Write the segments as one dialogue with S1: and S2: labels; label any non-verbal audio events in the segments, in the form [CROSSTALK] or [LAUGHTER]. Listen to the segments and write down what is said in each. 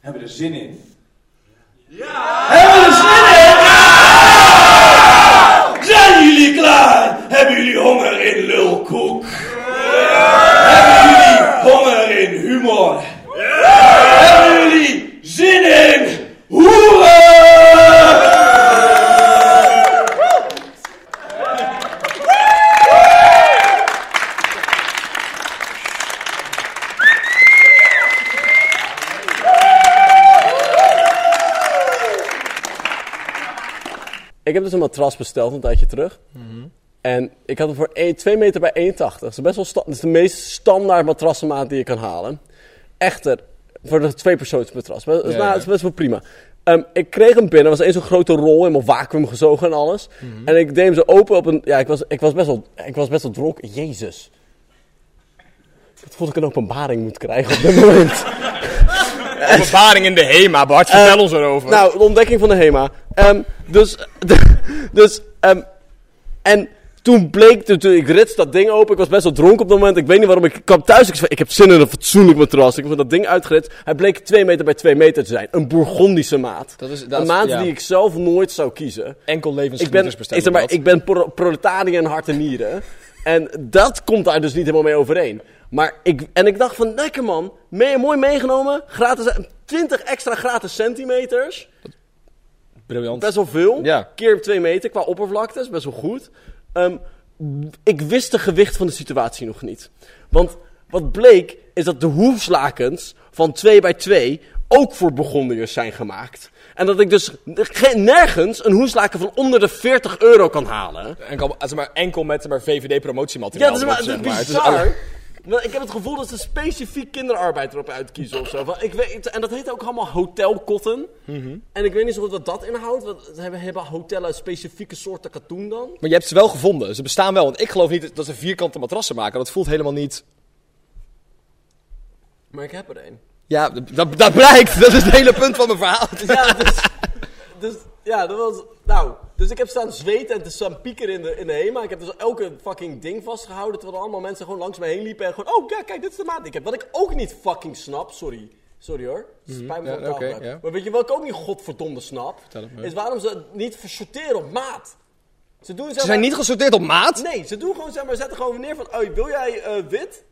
S1: Hebben we er zin in?
S2: Hebben we er zin in? Zijn jullie klaar? Hebben jullie honger in lulkoek? Hebben jullie honger in humor? Hebben jullie zin in hoeren?
S3: Ik heb dus een matras besteld een tijdje terug.
S4: Mhm.
S3: En ik had hem voor 1, 2 meter bij 1,80. Dat is best wel sta- dat is de meest standaard matrassenmaat die je kan halen. Echter, voor een tweepersoonsmatras. Dat is,
S4: Ja,
S3: nou,
S4: ja.
S3: dat is best wel prima. Ehm, ik kreeg hem binnen, er was één zo'n grote rol, helemaal vacuüm gezogen en alles.
S4: Mhm.
S3: En ik deed hem zo open op een... Ja, ik was, ik was, best, wel, ik was best wel dronken. Jezus. Dat vond ik een openbaring moet krijgen op dit moment.
S4: [LAUGHS] Ervaring in de HEMA, Bart. Vertel ons erover.
S3: Nou, de ontdekking van de HEMA. Ehm, dus, [LAUGHS] dus, ehm, en toen bleek, toen, toen ik ritste dat ding open, ik was best wel dronken op dat moment, ik weet niet waarom, ik kwam thuis, ik zei, ik heb zin in een fatsoenlijk matras, ik heb dat ding uitgeritst, hij bleek 2 meter bij 2 meter te zijn, een Bourgondische maat.
S4: Dat is- dat
S3: een
S4: is-
S3: maat
S4: ja.
S3: die ik zelf nooit zou kiezen.
S4: enkel
S3: Ik ben,
S4: levensgenieters
S3: ik,
S4: bestellen.
S3: zeg maar,
S4: Bart.
S3: ik ben pro- proletariër in hart en nieren. En dat komt daar dus niet helemaal mee overeen. Maar ik, en ik dacht van, lekker man, mee, mooi meegenomen, gratis, 20 extra gratis centimeters.
S4: Briljant.
S3: Best wel veel.
S4: Ja.
S3: Keer op twee meter qua oppervlakte is best wel goed. Ehm, ik wist de gewicht van de situatie nog niet. Want wat bleek is dat de hoefslakens van 2 bij 2 ook voor begonniers zijn gemaakt. En dat ik dus ge- nergens een hoefslaken van onder de 40 euro kan halen.
S4: Enkel, eh, zeg maar, enkel met zeg maar,
S3: Ja,
S4: VVD-promotiemateriaal.
S3: dat is, maar, dat
S4: erop,
S3: is
S4: zeg maar. Het is
S3: bizar.
S4: alle-
S3: Maar ik heb het gevoel dat ze specifiek kinderarbeid erop uitkiezen of zo. Van, Ik weet, en dat heet ook allemaal hotelkotten. En ik weet niet zo goed wat dat inhoudt. Want ze hebben, hebben hotellen specifieke soorten katoen dan?
S4: Maar je hebt ze wel gevonden. Ze bestaan wel. Want ik geloof niet dat ze vierkante matrassen maken. Dat voelt helemaal niet...
S3: Maar ik heb er een.
S4: Ja, d- dat, dat blijkt. Dat is het hele punt van mijn verhaal.
S3: Ja, dus, dus ja, dat was. Nou, dus ik heb staan zweten en te staan piekeren in de, in de HEMA. Ik heb dus elke fucking ding vastgehouden. Terwijl allemaal mensen gewoon langs me heen liepen. En gewoon, oh ja, kijk, dit is de maat die ik heb. Wat ik ook niet fucking snap, sorry. Sorry hoor. Spijt me
S4: Mhm. Ja,
S3: van het
S4: oké,
S3: taalgebruik.
S4: ja.
S3: Maar weet je wat ik ook niet godverdomme snap?
S4: het me.
S3: Is waarom ze het niet versorteren op maat. Ze, doen, zeg
S4: Ze zijn
S3: maar-
S4: niet gesorteerd op maat.
S3: Nee, ze doen gewoon, zeg maar, zetten gewoon neer van, oh, wil jij eh, wit?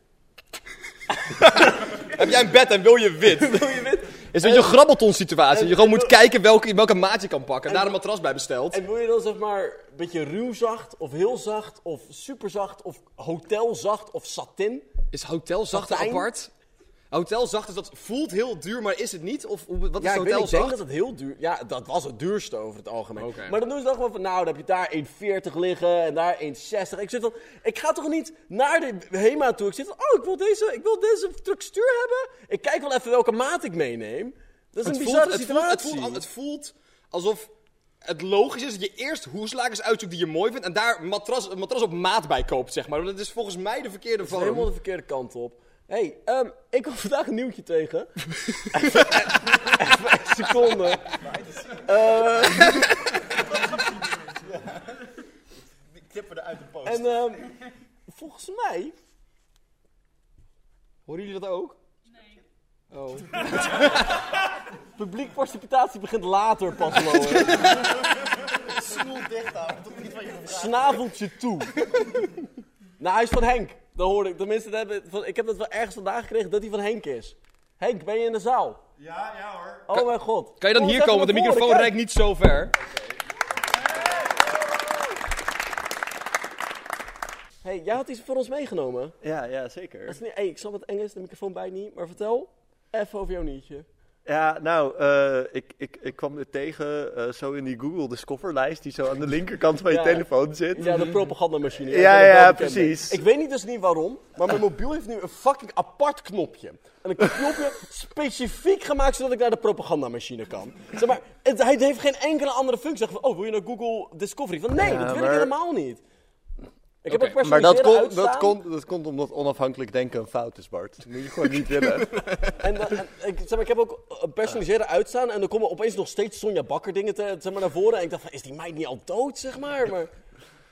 S3: [LAUGHS]
S4: Heb jij een bed en wil je wit?
S3: Wil je wit?
S4: [LAUGHS] Is dat je grabbelton situatie? Je gewoon moet kijken welke, welke maat je kan pakken. En
S3: En-
S4: daar een matras bij besteld.
S3: En wil je dan zeg maar een beetje ruw zacht, of heel zacht, of super zacht, of hotelzacht, of satin?
S4: Is hotel zacht
S3: Satijn?
S4: apart? Hotel zacht is dat voelt heel duur, maar is het niet? Of hoe- wat is
S3: Ja, ik,
S4: hotel
S3: weet, ik denk
S4: zacht?
S3: dat het heel duur... Ja, dat was het duurste over het algemeen.
S4: Oké.
S3: Maar dan doen ze dan gewoon van, nou, dan heb je daar 1,40 liggen en daar 1,60. Ik zit dan, ik ga toch niet naar de HEMA toe. Ik zit van, oh, ik wil deze, ik wil deze structuur hebben. Ik kijk wel even welke maat ik meeneem. Dat is een bizarre
S4: het, voelt,
S3: situatie.
S4: het, voelt, al- het voelt alsof het logisch is dat je eerst hoeslakers uitzoekt die je mooi vindt. En daar matras, een matras op maat bij koopt, zeg maar. Want Dat is volgens mij de verkeerde vorm.
S3: Helemaal de verkeerde kant op. hey, ehm, ik kwam vandaag een nieuwtje tegen. even, even een seconde.
S5: [LAUGHS]
S3: Eh,
S5: Knippen we eruit de post.
S3: en ehm, volgens mij...
S4: Horen jullie dat ook?
S3: Publiek participatie begint later pas wel.
S5: [LAUGHS] Snoel dicht houden, tot niet van je gevraagd.
S3: Snaveltje toe. nou, hij is van Henk. Dat hoorde ik. Tenminste, dat heb ik, van, ik heb dat wel ergens vandaag gekregen dat hij van Henk is. Henk, ben je in de zaal?
S5: Ja, ja hoor.
S3: Oh mijn god.
S4: Kan je dan
S3: Kom
S4: hier
S3: eens
S4: komen?
S3: even
S4: Want de
S3: naar voren,
S4: microfoon
S3: kijk.
S4: reikt niet zo ver.
S3: hey, jij had iets voor ons meegenomen.
S5: Ja, ja,
S3: Dat
S5: zeker.
S3: is niet, hey, ik snap het Engels, de microfoon bij niet. Maar vertel even over jouw nieuwtje.
S5: Ja, nou, eh, ik, ik, ik kwam dit tegen eh, zo in die Google Discover-lijst die zo aan de linkerkant van je
S3: Ja.
S5: telefoon zit.
S3: Ja, de propagandamachine.
S5: Ja,
S3: ik ben
S5: ja,
S3: wel bekend mee.
S5: precies.
S3: Ik weet niet dus niet waarom, maar mijn mobiel heeft nu een fucking apart knopje. En een knopje specifiek gemaakt zodat ik naar de propagandamachine kan. Zeg maar, het, hij heeft geen enkele andere functie. Zeg van, oh, wil je naar Google Discovery? Van, nee,
S5: Ja,
S3: dat wil ik
S5: maar-
S3: helemaal niet. Ik heb
S4: Oké,
S3: ook personaliseerde
S5: Maar dat, kon, dat,
S3: uitstaan
S5: kon, dat komt omdat onafhankelijk denken een fout is, Bart. Dat moet je gewoon niet willen.
S3: En, dan- en ik, zeg maar, ik heb ook een personaliseerde uitstaan en er komen opeens nog steeds Sonja Bakker dingen te, zeg maar, naar voren. En ik dacht van, is die meid niet al dood, zeg maar? maar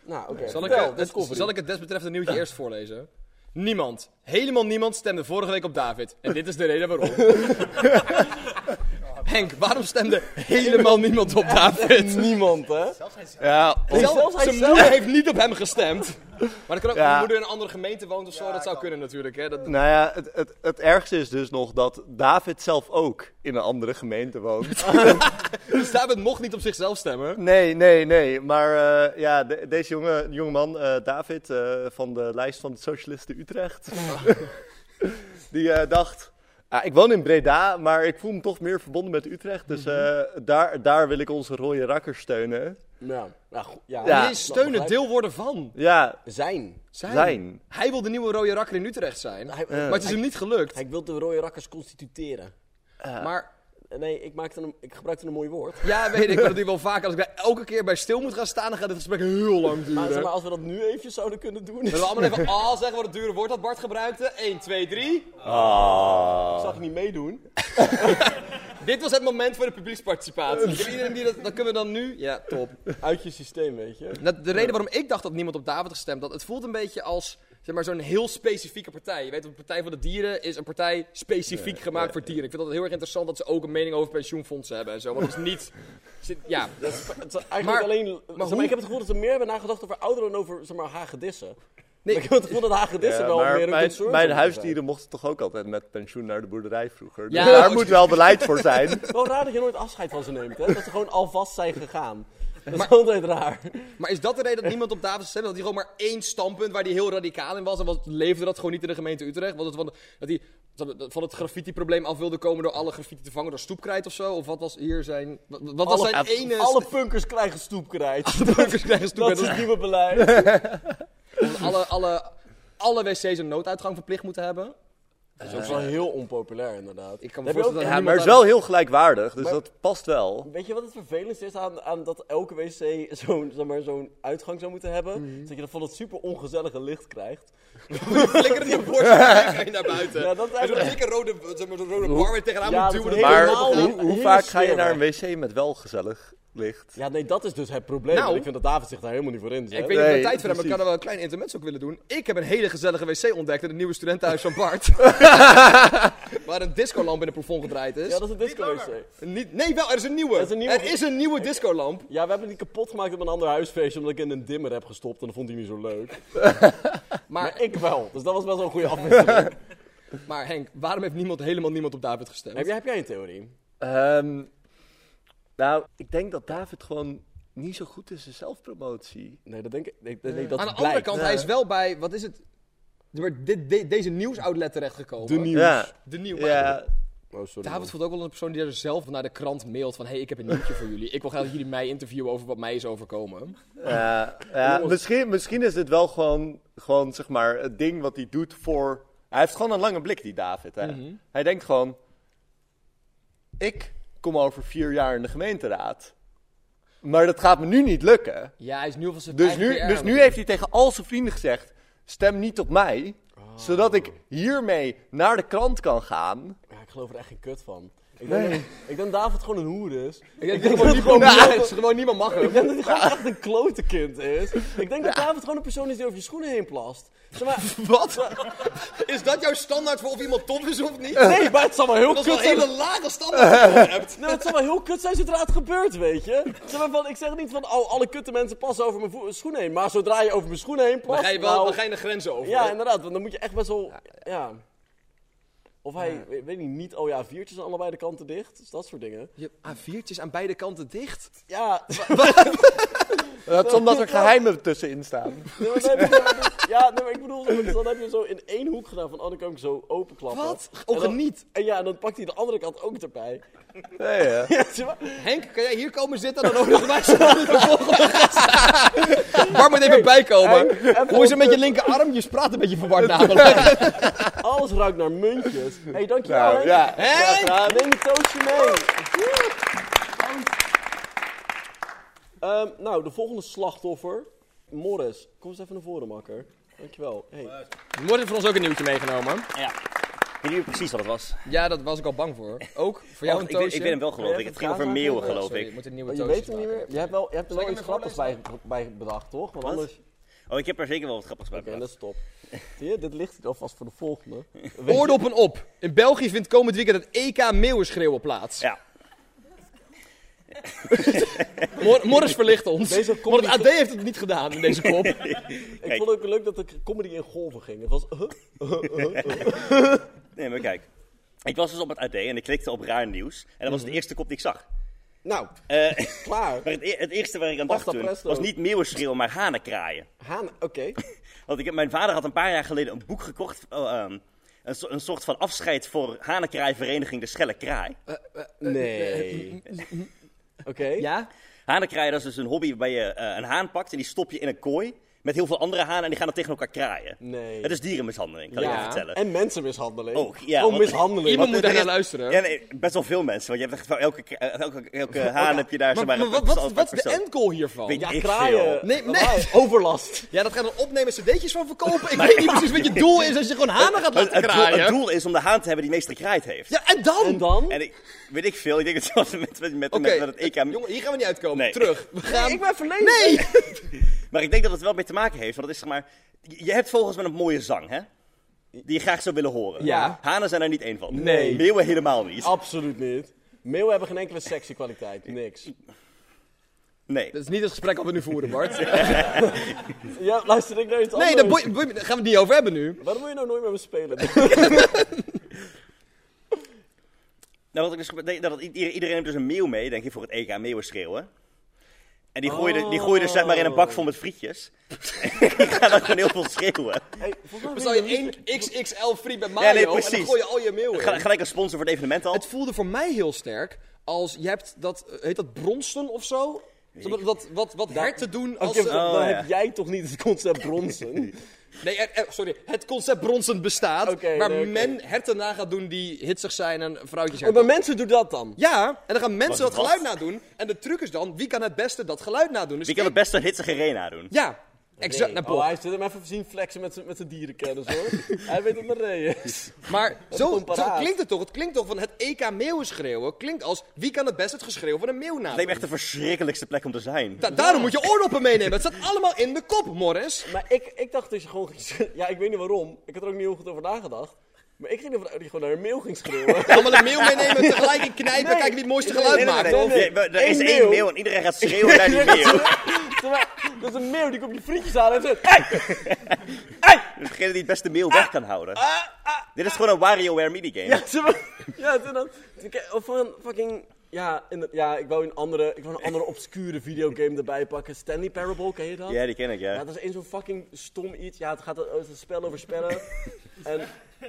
S3: nou, oké.
S4: Zal ik,
S3: vertel,
S4: eh, het,
S3: Discovery.
S4: zal ik het desbetreffende nieuwtje eerst voorlezen?
S3: [LAUGHS]
S4: Niemand, helemaal niemand stemde vorige week op David. En dit is de reden waarom. Henk, waarom stemde helemaal niemand op
S3: [LAUGHS]
S4: David?
S3: Niemand, hè?
S5: [LAUGHS] Ja,
S4: Zelf-
S3: zelfs hij
S4: zijn
S3: zelf.
S4: moeder heeft niet op hem gestemd. Maar dat kan ook
S5: Ja.
S4: zijn moeder in een andere gemeente woont of zo. dat zou kunnen natuurlijk. Hè? Dat,
S5: Nou ja, het, het, het ergste is dus nog dat David zelf ook in een andere gemeente woont.
S4: dus David mocht niet op zichzelf stemmen.
S5: Nee, nee, nee. Maar eh, ja, de- deze jonge, jongeman, eh, David, eh, van de lijst van de Socialisten Utrecht, [LAUGHS] die eh, dacht... "Ah, ik woon in Breda, maar ik voel me toch meer verbonden met Utrecht.
S3: Mhm.
S5: Dus eh, daar, daar wil ik onze rode rakkers steunen.
S3: Ja, nou, goed, ja.
S5: Ja.
S4: Nee, steunen,
S3: begrijp ik.
S4: deel worden van.
S5: Ja,
S3: Zijn.
S4: Zijn.
S5: zijn.
S4: Hij wil de nieuwe rode rakker in Utrecht zijn.
S3: Hij,
S4: Maar het is hem niet gelukt.
S3: hij wil de rode rakkers constitueren. Eh,
S4: Maar
S3: Nee, ik, maakte een, ik gebruikte een mooi woord.
S4: ja, weet ik maar dat doe ik wel vaak. Als ik daar elke keer bij stil moet gaan staan, dan gaat het gesprek heel lang duren.
S3: Maar, zeg maar,
S4: Zullen
S3: als we dat nu even zouden kunnen doen.
S4: we allemaal even ah zeggen wat het dure woord dat Bart gebruikte? 1, 2, 3.
S3: Dat zag ik niet meedoen.
S4: Dit was het moment voor de publieksparticipatie. Ik heb iedereen die dat, dat kunnen we dan nu. Ja, top.
S3: Uit je systeem, weet je.
S4: Nou, de reden waarom ik dacht dat niemand op David had gestemd, dat het voelt een beetje als zeg maar, zo'n heel specifieke partij. Je weet, een Partij van de Dieren is een partij specifiek gemaakt voor dieren. Ik vind dat heel erg interessant dat ze ook een mening over pensioenfondsen hebben en zo. Want het is
S3: [LAUGHS]
S4: niet. zit- ja.
S3: Dat is, het is eigenlijk
S4: Maar-
S3: alleen... zeg maar,
S4: hoe-
S3: ik heb het gevoel dat ze meer hebben nagedacht over ouderen dan over, zeg maar, hagedissen. ik heb het gevoel dat hagedissen
S5: Ja,
S3: wel meer
S5: maar
S3: een
S5: mijn,
S3: concern
S5: mijn
S3: zijn.
S5: huisdieren mochten toch ook altijd met pensioen naar de boerderij vroeger. Dus
S4: Ja,
S5: daar
S4: oké.
S5: moet wel beleid voor
S3: [LAUGHS]
S5: zijn.
S3: Wel raar dat je nooit afscheid van ze neemt, hè? Dat ze gewoon alvast zijn gegaan. Dat is altijd raar.
S4: Maar is dat de reden dat niemand op David stemde? Dat hij gewoon maar één standpunt waar hij heel radicaal in was. En was, leefde dat gewoon niet in de gemeente Utrecht? Was het van, dat hij van het graffiti-probleem af wilde komen door alle graffiti te vangen door stoepkrijt of zo? Of wat was hier zijn. Wat, wat was zijn ene. [LAUGHS]
S3: alle punkers krijgen stoepkrijt.
S4: Drukkers krijgen
S3: [LAUGHS] Dat
S4: stoepkrijt.
S3: is het nieuwe
S4: [LAUGHS]
S3: beleid.
S4: alle, alle, alle wc's een nooduitgang verplicht moeten hebben.
S3: Dat is ook wel heel onpopulair, inderdaad.
S4: Ik kan me
S3: Heb je
S4: voorstellen
S3: ook-
S5: Ja,
S4: dat
S5: maar het is wel heel gelijkwaardig, dus dat past wel.
S3: Weet je wat het vervelendste is aan, aan dat elke wc zo'n zeg maar, zo'n uitgang zou moeten hebben?
S4: Mhm.
S3: Dat je dan van dat super ongezellige licht
S4: [LAUGHS]
S3: krijgt.
S4: flikker die bord [LAUGHS] ga je naar buiten.
S3: Ja, dat is
S4: En zo'n
S3: eigenlijk-
S4: dikke rode, zeg maar, zo'n rode bar weer tegenaan
S3: Ja,
S4: moet
S3: dat
S4: duwen.
S3: is
S4: dat
S5: Maar
S4: helemaal
S3: Helemaal
S5: hoe,
S3: niet.
S5: hoe
S3: Heel
S5: vaak ga je naar een
S3: smerig.
S5: wc met wel gezellig licht?
S3: Ja, nee, dat is dus het probleem.
S4: Nou.
S3: want ik vind dat David zich daar helemaal niet voor in zet.
S4: Ik weet niet of we
S5: Nee,
S4: tijd voor hebben, maar ik
S5: precies.
S4: kan er wel een klein intermezzo ook willen doen. Ik heb een hele gezellige wc ontdekt in het nieuwe studentenhuis van
S3: [LAUGHS]
S4: Bart. [LAUGHS] waar een discolamp in het plafond gedraaid is.
S3: Ja, dat is een disco wc.
S4: Niet, nee, wel, er is een nieuwe.
S3: is een nieuwe.
S4: Er is een nieuwe discolamp.
S3: Ja, we hebben die kapot gemaakt op een ander huisfeestje omdat ik in een dimmer heb gestopt en dat vond hij niet zo
S4: [LAUGHS]
S3: leuk.
S4: Maar,
S3: Maar ik wel, dus dat was best wel een goede afwisseling.
S4: maar Henk, waarom heeft niemand, helemaal niemand op David gestemd?
S3: heb, jij, heb jij een theorie?
S5: Ehm, nou, ik denk dat David gewoon niet zo goed is in zelfpromotie.
S3: Nee, dat denk ik. Nee, nee, dat
S4: Eh, Aan de andere
S3: blijkt.
S4: kant, hij is wel bij, wat is het? Maar dit, de- deze nieuwsoutlet terechtgekomen.
S3: De nieuws.
S5: Ja,
S4: De nieuw.
S5: ja,
S3: Oh, sorry.
S4: David voelt ook wel een persoon die er zelf naar de krant mailt van... ...hé, hey, ik heb een nieuwtje voor jullie. Ik wil graag dat jullie mij interviewen over wat mij is overkomen.
S5: ja, ja. [LAUGHS] Misschien, misschien is dit wel gewoon, gewoon zeg maar, het ding wat hij doet voor... Hij heeft gewoon een lange blik, die David. Hè? Hij denkt gewoon, ik kom over vier jaar in de gemeenteraad. Maar dat gaat me nu niet lukken.
S4: Ja, hij is nu van zijn
S5: Dus
S4: eigen
S5: nu,
S4: PR
S5: dus nu heeft hij tegen al zijn vrienden gezegd: stem niet op mij, zodat ik hiermee naar de krant kan gaan.
S3: Ja, ik geloof er echt geen kut van. Ik denk, dat, ik denk dat David gewoon een hoer is.
S4: Ik denk,
S3: dat
S4: gewoon,
S3: het
S4: niemand,
S3: gewoon-
S4: niemand- gewoon niemand mag
S3: Ik
S4: hem.
S3: denk dat hij gewoon echt een klote kind is. Ik denk dat David gewoon een persoon is die over je schoenen heen plast. Zeg maar,
S4: [LAUGHS] Wat? Is dat jouw standaard voor of iemand top is of niet?
S3: nee, maar het zal wel heel
S4: Dat is
S3: kut
S4: wel een
S3: zijn.
S4: hele lage standaard die je [LAUGHS] hebt.
S3: Nee, maar het zal wel heel kut zijn zodra het gebeurt, weet je. Zeg maar van, ik zeg niet van, oh, alle kutte mensen passen over mijn vo- schoenen heen. Maar zodra je over mijn schoenen heen plast,
S4: Dan ga je wel
S3: nou,
S4: dan ga je de grenzen over.
S3: Ja, inderdaad, want dan moet je echt best wel, ja... Of hij, weet- weet niet, niet, oh ja, viertjes aan allebei de kanten dicht. Dus dat soort dingen.
S4: Je hebt A4'tjes aan beide kanten dicht.
S3: Ja,
S5: Dat is omdat er geheimen tussenin staan.
S3: [LAUGHS] Nee, maar dan heb je- dan heb je- [LAUGHS] ja, nee, maar ik bedoel, dus dan heb je zo in één hoek gedaan van, oh, dan kan ik zo openklappen.
S4: Wat?
S3: En
S4: Oh,
S3: dan-
S4: geniet.
S3: En ja, en dan pakt hij de andere kant ook erbij. [LAUGHS]
S5: Nee, ja.
S3: Ja, zeg maar,
S4: Henk, kan jij hier komen zitten en dan ook nog bij zo'n volgende [LAUGHS] gast? Bart moet even bijkomen.
S3: Henk, even
S4: Hoe is het
S3: op
S4: met je linkerarm? Je praat een beetje verward [LAUGHS] namelijk.
S3: alles ruikt naar muntjes. Hé, hey, dankjewel,
S5: Nou,
S3: Henk.
S5: ja.
S4: Henk!
S3: Neem een toastje mee. Ehm, nou, de volgende slachtoffer. Morris, kom eens even naar voren, makker. Dankjewel. Hey.
S4: Morris heeft voor ons ook een nieuwtje meegenomen.
S1: Ja. Weet je precies wat het was?
S4: Ja, dat was ik al bang voor. Ook voor jou
S1: Oh,
S4: een
S1: ik, weet,
S4: toosje.
S1: ik weet hem wel geloof ik. Het ging over meeuwen geloof
S4: Sorry,
S1: ik.
S4: ik moet een nieuwe
S3: Oh, je
S4: toosje
S3: weet het niet meer. Je hebt, wel, je hebt er
S4: Zal
S3: wel
S4: ik
S3: iets
S4: hem even
S3: grappigs bij, bij bedacht, toch? Want
S1: Wat?
S3: anders...
S1: Oh, ik heb er zeker wel wat grappigs bij.
S3: Oké,
S1: bedacht.
S3: dat is top. Zie je, dit ligt alvast voor de volgende.
S4: Oordop en op. In België vindt komend weekend het EK E meeuwenschreeuwen plaats.
S1: Ja.
S4: [LAUGHS] Mor- Morris verlicht ons.
S6: Deze
S4: maar het
S6: comedy-
S4: AD heeft het niet gedaan in deze
S1: [LAUGHS]
S4: kop.
S6: Ik vond ook leuk dat de comedy in golven ging. Het was... huh?
S1: Nee, maar kijk. Ik was dus op het AD en ik klikte op raar nieuws. En dat was de eerste kop die ik zag.
S3: Nou,
S1: Eh,
S3: klaar.
S1: maar het, e- het eerste waar ik aan dacht
S3: Pasta
S1: toen
S3: presto.
S1: was niet meeuwenschreeuw, maar hanenkraaien.
S3: Haan, oké.
S1: Want ik, heb- mijn vader had een paar jaar geleden een boek gekocht. oh, ehm, een, so- een soort van afscheid voor hanenkraaivereniging De Schelle Kraai.
S3: Nee. Oké.
S4: Ja?
S1: Hanenkraaien, dat is dus een hobby waarbij je eh, een haan pakt en die stop je in een kooi. Met heel veel andere hanen en die gaan dan tegen elkaar kraaien.
S3: Nee.
S1: Het is dierenmishandeling, kan ik
S3: Ja.
S1: even vertellen.
S3: En mensenmishandeling.
S1: Ook, ja,
S3: Oh,
S1: want-
S3: mishandeling.
S4: Iemand moet
S1: er
S4: daar naar
S1: is-
S4: luisteren.
S1: Ja, nee, eh, best wel veel mensen. Want je hebt echt wel elke, kra- eh, elke, elke haan heb je daar
S4: Maar,
S1: zomaar
S4: maar
S1: een
S4: wat,
S1: persoon
S4: wat,
S1: per
S4: wat is de
S1: persoon.
S4: end goal hiervan?
S1: Weet
S4: Ja.
S1: je-
S3: Ja,
S1: Ik
S3: kraaien.
S1: veel.
S4: Nee, nee.
S3: Normaal, Eh, Overlast.
S4: Ja, dat gaan we opnemen cd'tjes van verkopen. Ik weet niet precies wat je doel is als je gewoon hanen gaat
S1: [LAUGHS] Het,
S4: laten
S1: het doel,
S4: kraaien.
S1: het doel is om de haan te hebben die meest gekraaid heeft.
S4: Ja, en dan?
S3: En dan?
S1: En ik weet ik veel, ik denk hetzelfde met, met, met,
S4: Oké,
S1: met het EK.
S4: jongen, hier gaan we niet uitkomen.
S1: Nee.
S4: Terug. We gaan...
S3: Ik ben verleden.
S4: [LAUGHS] Nee!
S1: Maar ik denk dat het wel mee te maken heeft. Want het is zeg maar. Je je hebt vogels met een mooie zang, hè? Die je graag zou willen horen.
S3: Ja.
S1: Hanen zijn er niet één van.
S3: Nee.
S1: Meeuwen helemaal niet.
S3: Absoluut niet. Meeuwen hebben geen enkele sexy kwaliteit. Niks.
S1: Nee.
S4: Dat is niet het gesprek dat we nu voeren, Bart.
S3: Ja, luister ik naar iets
S4: Nee,
S3: anders.
S4: daar boei- boei- daar gaan we het niet over hebben nu.
S3: Waarom wil je nou nooit met me [LAUGHS] spelen?
S1: Nou, wat ik dus denk, dat het- iedereen heeft dus een meeuw mee, denk je, voor het EK meeuwen schreeuwen. En die gooi, je, de- die gooi je dus zeg maar in een bak vol met frietjes. [LAUGHS] ik ga dan gewoon heel veel schreeuwen.
S3: hey, volgens mij
S4: Dan
S3: wil
S4: zou
S3: je
S4: je
S3: niet-
S4: één XXL free bij
S1: Ja, nee,
S4: Mario en dan
S1: precies.
S4: gooi je al je meeuwen
S1: Ga-
S4: in.
S1: Gelijk een sponsor voor het evenement al. Dus
S4: Het voelde voor mij heel sterk als je hebt dat, eh, heet dat bronsten of zo? Dat, dat, wat wat herten doen als
S3: Oké,
S4: ze...
S3: dan, dan
S1: ja.
S3: heb jij toch niet het concept bronzen?
S4: Nee, er- er- sorry. Het concept bronsen bestaat,
S3: Oké,
S4: waar
S3: nee, oké.
S4: men herten na gaat doen die hitsig zijn en vrouwtjes
S3: Oh, maar
S4: herten.
S3: mensen doen dat dan.
S4: Ja, en dan gaan mensen
S1: Wat-
S4: dat geluid
S1: wat?
S4: nadoen. En de truc is dan, wie kan het beste dat geluid nadoen? Dus
S1: Ik kan het
S4: ik-
S1: best een hitsige arena doen.
S4: Ja, exact.
S3: Nee.
S4: naar
S3: oh,
S4: Bob.
S3: hij zit hem even zien flexen met zijn met zijn dierenkennis hoor. [LAUGHS] hij weet dat mijn ree is.
S1: Oh,
S4: Maar zo,
S3: komt paraat.
S4: zo klinkt het toch? Het klinkt toch van het E EK meeuwenschreeuwen. Klinkt als wie kan het best het geschreeuw van een meeuw
S1: Het
S4: nadoen?
S1: lijkt me echt de verschrikkelijkste plek om te zijn.
S4: Da- daarom moet je oordoppen meenemen. Het staat allemaal in de kop, Morris.
S3: Maar ik, ik dacht dus gewoon... Ja, ik weet niet waarom. Ik had er ook niet heel goed over nagedacht. Maar ik ging ervan uit dat je gewoon naar een mail ging [LAUGHS] schreeuwen.
S4: Allemaal een meeuw meenemen, tegelijk in knijpen, kijken wie het mooiste geluid
S1: Nee, nee,
S4: maakt.
S1: nee,
S3: Nee, nee.
S1: Ja, maar Er is
S3: Eén
S1: één
S3: meeuw.
S1: meeuw en iedereen gaat schreeuwen
S3: [LAUGHS]
S1: naar die meeuw.
S3: Terwijl, dat is een meeuw die komt je frietjes aan en zegt... Hey! Hey!
S1: Degene die het beste meeuw weg kan houden. Dit is gewoon een WarioWare minigame.
S3: Ah, Ja, [LAUGHS] ze, ja toen dan... toen ke- Of van fucking... Ja, in de- ja, ik wou een andere, ik wou een andere obscure videogame erbij pakken. Stanley Parable, ken je dat?
S1: Ja, die ken ik, ja.
S3: Ja, dat is één zo'n fucking stom iets. Ja, het gaat het is een spel over
S1: [LAUGHS]
S3: spellen. en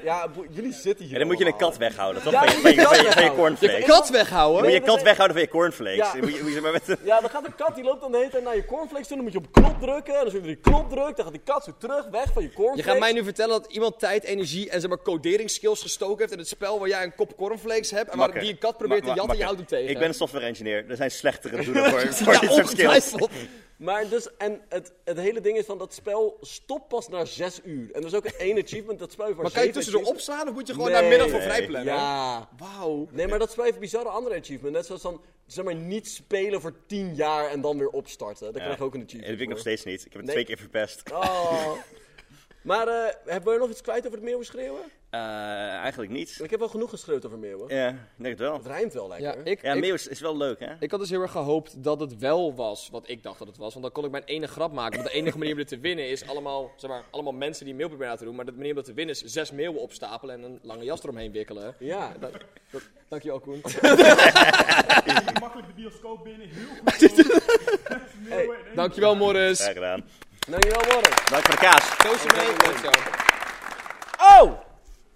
S3: ja, boe- jullie zitten hier
S1: En dan moet je een
S3: allemaal.
S1: kat weghouden, toch?
S3: Ja,
S1: van, je,
S3: dan
S1: van, je,
S3: moet je
S1: van, je, van
S3: kat
S1: je
S3: weghouden.
S1: cornflakes.
S4: Kat weghouden.
S1: Moet je
S3: dat
S1: kat
S3: is-
S1: weghouden van je cornflakes.
S3: Ja.
S1: Moet je, moet je maar met de-
S3: Ja, dan gaat een kat, die loopt dan de hele tijd naar je cornflakes toe. Dan moet je op knop drukken. En als je op die knop drukt, dan gaat die kat zo terug, weg van je
S4: Je
S3: cornflakes.
S4: gaat mij nu vertellen dat iemand tijd, energie en zeg maar coderingskills gestoken heeft in het spel waar jij een kop cornflakes hebt en waar
S1: Makker.
S4: die een kat probeert
S1: Ma-
S4: te
S1: ma-
S4: jatten en je houdt
S1: makker.
S4: hem tegen.
S1: Ik ben een software engineer. Er zijn slechtere
S4: [LAUGHS]
S1: doelen voor, voor
S4: ja,
S1: dit soort skills. [LAUGHS]
S4: ongetwijfeld.
S3: Maar dus, en het, het hele ding is van dat spel stopt pas na zes uur. En er is ook één achievement, dat spel heeft maar
S4: Maar kan je
S3: zeven
S4: tussendoor
S3: achievements.
S4: opslaan of moet je gewoon
S3: Nee.
S4: daar middag voor
S1: Nee.
S4: vrijplannen?
S3: Ja.
S4: Wauw.
S3: Nee, maar dat spel heeft bizarre andere achievements. Net zoals dan, zeg maar, niet spelen voor tien jaar en dan weer opstarten. Dan krijg je ook een
S1: Ja,
S3: achievement
S1: dat weet ik nog
S3: voor.
S1: steeds niet. Ik heb het
S3: Nee.
S1: twee keer verpest.
S4: Ah.
S3: Oh. Maar eh hebben we nog iets kwijt over het meeuwen schreeuwen?
S1: Eh, eigenlijk niet.
S3: Ik heb wel genoeg geschreeuwd over meeuwen.
S1: Ja, ik denk het wel.
S3: Het rijmt wel
S4: Ja,
S3: lekker.
S4: ik,
S1: Ja,
S4: ik-
S1: meeuw is, is wel leuk, hè?
S4: Ik had dus heel erg gehoopt dat het wel was wat ik dacht dat het was. Want dan kon ik mijn ene grap maken. Want de enige manier om dit te winnen is allemaal, zeg maar, allemaal mensen die een mail proberen na te doen. Maar de manier om dat te winnen is zes meeuwen opstapelen en een lange jas eromheen wikkelen.
S3: Ja,
S4: Dankjewel, [LAUGHS] Koen.
S1: [LAUGHS]
S7: makkelijk de bioscoop binnen, heel goed.
S4: Dankjewel, Morris.
S1: Graag gedaan.
S3: dankjewel Warren.
S1: Dank voor de kaas.
S4: Koos je mee. Goed zo.
S3: Oh!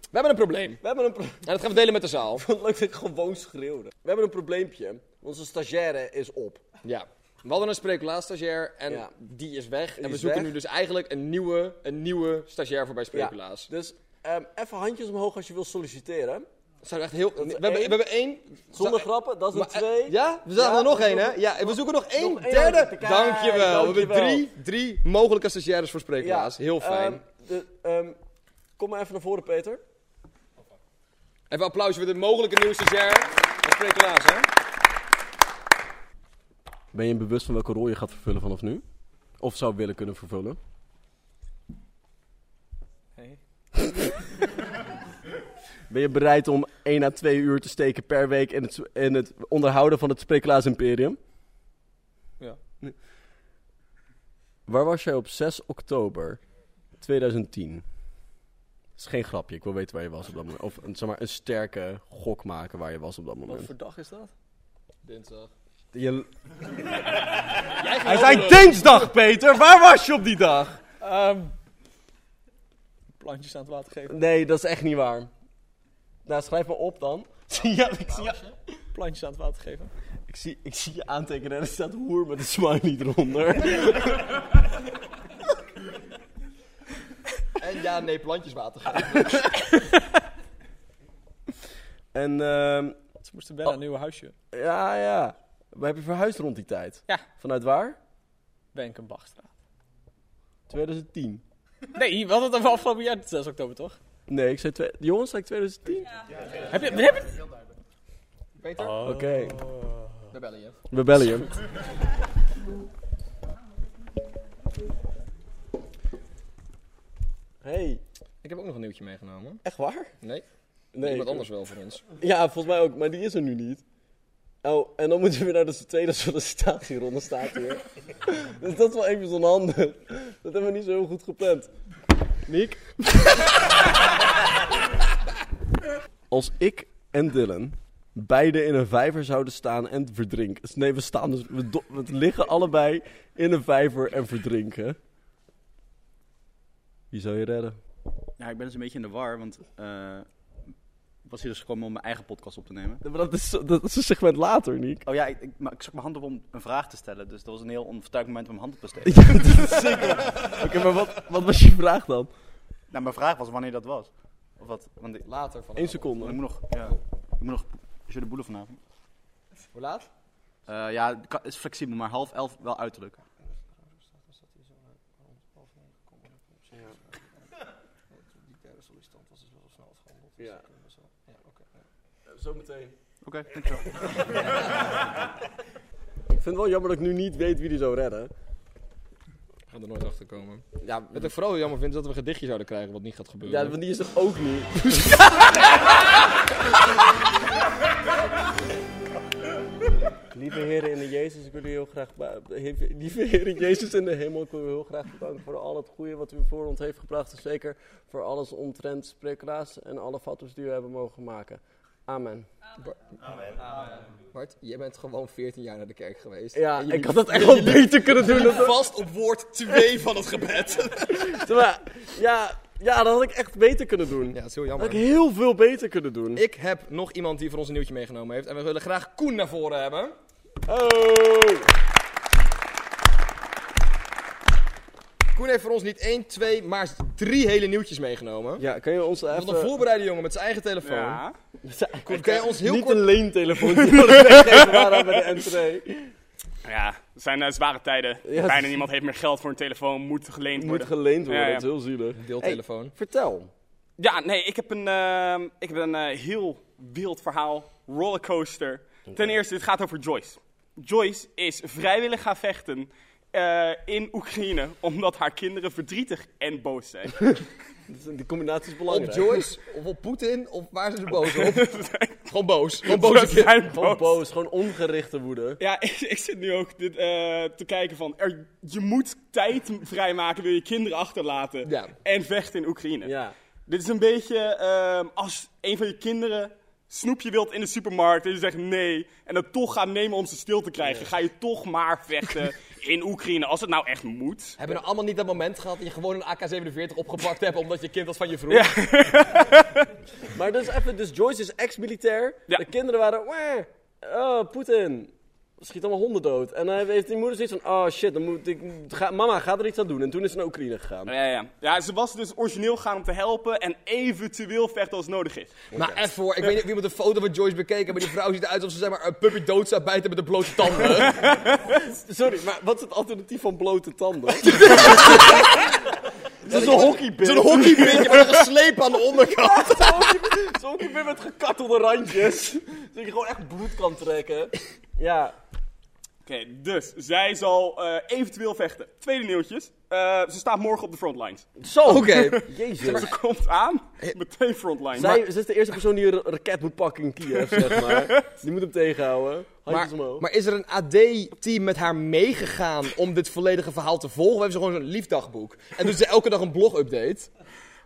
S4: We hebben een probleem.
S3: We hebben een pro-
S4: En dat gaan we delen met de zaal.
S3: [LAUGHS] Leuk dat ik gewoon schreeuwde. We hebben een probleempje. Onze stagiaire is op.
S4: Ja. We hadden een spreekulaas-stagiair en
S3: Ja.
S4: die is weg. en we
S3: is
S4: zoeken
S3: weg.
S4: nu dus eigenlijk een nieuwe, een nieuwe stagiair voor bij spreekulaas.
S3: Dus ehm, even handjes omhoog als je wil solliciteren.
S4: Zou echt heel... We
S3: is
S4: hebben, we
S3: één.
S4: hebben één...
S3: Zonder
S4: Zou-
S3: grappen, dat is een
S4: Maar, eh,
S3: twee.
S4: Ja, we zagen
S3: Ja,
S4: er nog
S3: we
S4: één, hè?
S3: zoeken-
S4: Ja, en we zoeken nog één
S3: nog één
S4: derde.
S3: handje. Kijk,
S4: dankjewel. We hebben
S3: dankjewel.
S4: drie, drie mogelijke stagiaires voor spreekplaats. Heel fijn.
S3: Ehm, de, ehm, kom maar even naar voren, Peter.
S4: Even applaus voor de mogelijke nieuwe stagiair van spreekplaats, hè?
S6: Ben je bewust van welke rol je gaat vervullen vanaf nu? Of zou willen kunnen vervullen?
S3: [LAUGHS] Ben je bereid om 1 à 2 uur te steken per week in het, in het onderhouden van het Spreeklaas Imperium?
S4: Ja.
S3: Waar was jij op 6 oktober 2010? Dat is geen grapje, ik wil weten waar je was op dat moment. Of een- zeg maar, een sterke gok maken waar je was op dat moment.
S8: dag is dat?
S4: Dinsdag. [LAUGHS]
S3: Je... Hij zei dinsdag, Peter! Waar was je op die dag?
S4: Ehm, plantjes aan het water geven.
S3: Nee, dat is echt niet waar. Nou, schrijf me op dan. ja, ik [LAUGHS] zie
S4: Oh,
S3: je...
S4: Plantjes aan het water geven.
S3: Ik zie, ik zie je aantekenen en er staat hoer met een smiley eronder.
S4: [LAUGHS] En ja, nee, plantjes water geven.
S3: [LAUGHS] En ehm
S4: Ze moesten bellen aan een nieuw huisje.
S3: ja, ja. Maar heb je verhuisd rond die tijd?
S4: Ja.
S3: Vanuit waar?
S4: Benkenbachstraat.
S3: 2010.
S4: Nee, we hadden het over afgelopen jaar, 6 oktober toch?
S3: Nee, ik zei... Twee... Jongens, zei ik 2010?
S4: Heb je, heb je... Peter,
S3: Oké.
S4: we bellen je.
S3: We bellen je. Hey.
S4: Ik heb ook nog een nieuwtje meegenomen.
S3: Echt waar?
S4: Nee,
S3: Nee.
S4: iemand
S3: ik-
S4: anders wel voor ons.
S3: Ja, volgens mij ook. Maar die is er nu niet. Oh, en dan moeten we weer naar de tweede sollicitatieronde staat [LAUGHS] hier. dus dat is wel even onhandig. Dat hebben we niet zo heel goed gepland. Nick? [LAUGHS] Als ik en Dylan beide in een vijver zouden staan en verdrinken. Nee, we, staan dus, we, do- we liggen allebei in een vijver en verdrinken. Wie zou je redden?
S9: Ja, ik ben dus een beetje in de war, want eh, ik was hier dus gekomen om mijn eigen podcast op te nemen.
S3: Maar Dat is, dat is een segment later, Nick.
S9: Oh ja, ik, ik, maar ik stak mijn hand op om een vraag te stellen, dus dat was een heel onvertuigd moment om mijn hand op te steken.
S3: Ja, dat is zeker. Oké, maar wat, wat was je vraag dan?
S9: nou, mijn vraag was wanneer dat was. Of wat? Want ik,
S4: Later van
S3: Eén
S9: ik
S5: Eh,
S3: seconde.
S9: moet nog, ja, ik moet nog, je de boelen vanavond.
S4: Hoe laat?
S9: Eh, ja, het kan- is flexibel, maar half elf wel uiterlijk.
S4: Die derde sollicitant was dus wel snel afgehandeld.
S3: Ja.
S4: Ja, oké.
S3: Zometeen.
S9: Oké, dankjewel.
S3: Ik vind het wel jammer dat ik nu niet weet wie die zou redden.
S4: Gaan er nooit achter komen.
S3: Ja,
S4: Wat ik vooral heel jammer vind is dat we een gedichtje zouden krijgen wat niet gaat gebeuren.
S3: ja want die is er ook niet. Lieve heren in de Jezus, ik wil u heel graag... ba- Heer- Lieve heren Jezus in de hemel, ik wil u heel graag bedanken voor al het goede wat u voor ons heeft gebracht. En zeker voor alles omtrent spreeklaas en alle fatters die u hebben mogen maken. Amen.
S4: Bart, jij bent gewoon 14 jaar naar de kerk geweest.
S3: Ja,
S4: En jullie-
S3: ik had dat echt wel beter kunnen doen. dan-
S4: Vast op woord 2 van het gebed.
S3: Terwijl- Ja, ja, dat had ik echt beter kunnen doen.
S4: Ja,
S3: Dat
S4: dat is heel
S3: had ik
S4: jammer.
S3: heel veel beter kunnen doen.
S4: Ik heb nog iemand die voor ons een nieuwtje meegenomen heeft. En we willen graag Koen naar voren hebben.
S3: Oh.
S4: Koen heeft voor ons niet één, twee, maar drie hele nieuwtjes meegenomen.
S3: Ja, kan je ons even...
S4: Wat een voorbereide jongen met zijn eigen telefoon. Koen, kan je ons heel
S3: Niet
S4: kort...
S3: een
S4: [LAUGHS]
S3: leentelefoon die we weggeven waren bij de entree.
S6: Ja, het zijn eh, zware tijden.
S3: Ja,
S6: Bijna niemand heeft meer geld voor een telefoon, moet geleend
S3: Moet
S6: worden.
S3: geleend worden,
S6: Ja, ja.
S3: dat is heel zielig.
S4: Deeltelefoon.
S3: Vertel.
S6: ja, nee, ik heb een, ehm, ik heb een eh, heel wild verhaal. Rollercoaster. Ten eerste, het gaat over Joyce. Joyce is vrijwillig gaan vechten eh, in Oekraïne, omdat haar kinderen verdrietig en boos zijn.
S3: De combinatie is
S4: Op
S3: belangrijk.
S4: Joyce, of op Poetin, of waar zijn ze boos [LAUGHS] op? gewoon boos. Gewoon
S6: Ze
S4: boos.
S6: zijn boos.
S3: Gewoon boos, gewoon ongerichte woede.
S6: Ja, ik, ik zit nu ook dit, eh, te kijken van, er, je moet tijd vrijmaken, wil je kinderen achterlaten
S4: Ja.
S6: en vechten in Oekraïne.
S3: Ja.
S6: Dit is een beetje ehm, als een van je kinderen snoepje wilt in de supermarkt en je zegt nee en dat toch gaat nemen om ze stil te krijgen, ga je toch maar vechten in Oekraïne als het nou echt moet.
S4: [LAUGHS] Hebben we nou allemaal niet dat moment gehad dat je gewoon een AK-47 opgepakt hebt omdat je kind was van je vroeg?
S3: Maar dus even, dus Joyce is ex-militair.
S6: Ja.
S3: De kinderen waren, "Wah, oh, Poetin. Schiet allemaal honden dood. En dan heeft die moeder zoiets van, oh shit, dan moet ik, ga, mama, ga er iets aan doen. En toen is ze naar Oekraïne gegaan.
S6: Ja, ja. ja, ze was dus origineel gaan om te helpen en eventueel vechten als nodig is.
S4: Maar Nou, even hoor, ik weet niet of iemand een foto van Joyce bekeken, maar die vrouw ziet eruit alsof ze zeg maar een puppy dood zou bijten met een blote [LAUGHS] tanden.
S3: Sorry, maar wat is het alternatief van blote tanden?
S4: [LAUGHS]
S3: Het is een hockeybit.
S4: Zo'n hockeybeertje met een gesleep aan de onderkant.
S3: [LAUGHS] Zo'n hockeybit met gekattelde randjes. [LAUGHS] Zodat je gewoon echt bloed kan trekken. Ja.
S6: Oké, dus zij zal eh, eventueel vechten. Tweede nieuwtjes. Eh, eh, ze staat morgen op de frontlines.
S3: Zo!
S4: Oké.
S3: [LAUGHS] Jezus.
S6: Ze komt aan, meteen frontlines.
S3: Zij ze is de eerste persoon die een ra- raket moet pakken in Kiev, zeg maar.
S4: [LAUGHS]
S3: Die moet hem tegenhouden. Handjes
S4: Maar,
S3: omhoog.
S4: maar is er een AD-team met haar meegegaan om dit volledige verhaal te volgen? Of hebben ze gewoon zo'n liefdagboek? En doen ze elke dag een blog-update?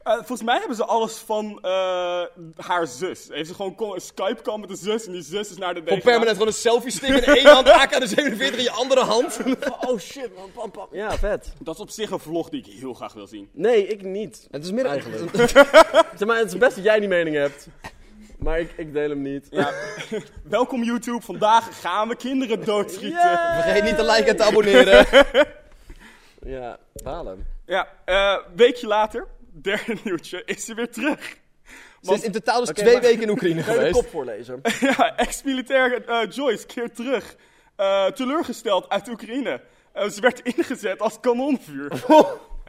S6: Eh, volgens mij hebben ze alles van eh, haar zus. Heeft ze gewoon kon- een Skype-call met de zus en die zus is naar de
S4: Gewoon
S6: degen-
S4: permanent gewoon een selfie-stick in de ene hand, AK-47 in je andere hand?
S3: Oh shit, man. Pam, pam. Ja, vet.
S6: Dat is op zich een vlog die ik heel graag wil zien.
S3: Nee, ik niet.
S4: [LAUGHS] Het is meer
S3: Eigenlijk. Zeg maar, het is best dat jij die mening hebt. Maar ik, ik deel hem niet.
S6: Welkom YouTube, vandaag gaan we kinderen doodschieten.
S4: Vergeet niet te liken en te abonneren. [LAUGHS]
S3: Ja, balen.
S6: Ja, eh, weekje later, derde nieuwtje, is ze weer terug.
S4: Ze is in totaal dus twee weken in [LAUGHS] Oekraïne
S3: Kan je de
S4: geweest.
S3: kop voorlezen?
S6: Ja, [LAUGHS] ex-militair eh, Joyce keert terug. Eh, teleurgesteld uit Oekraïne. Eh, ze werd ingezet als kanonvuur.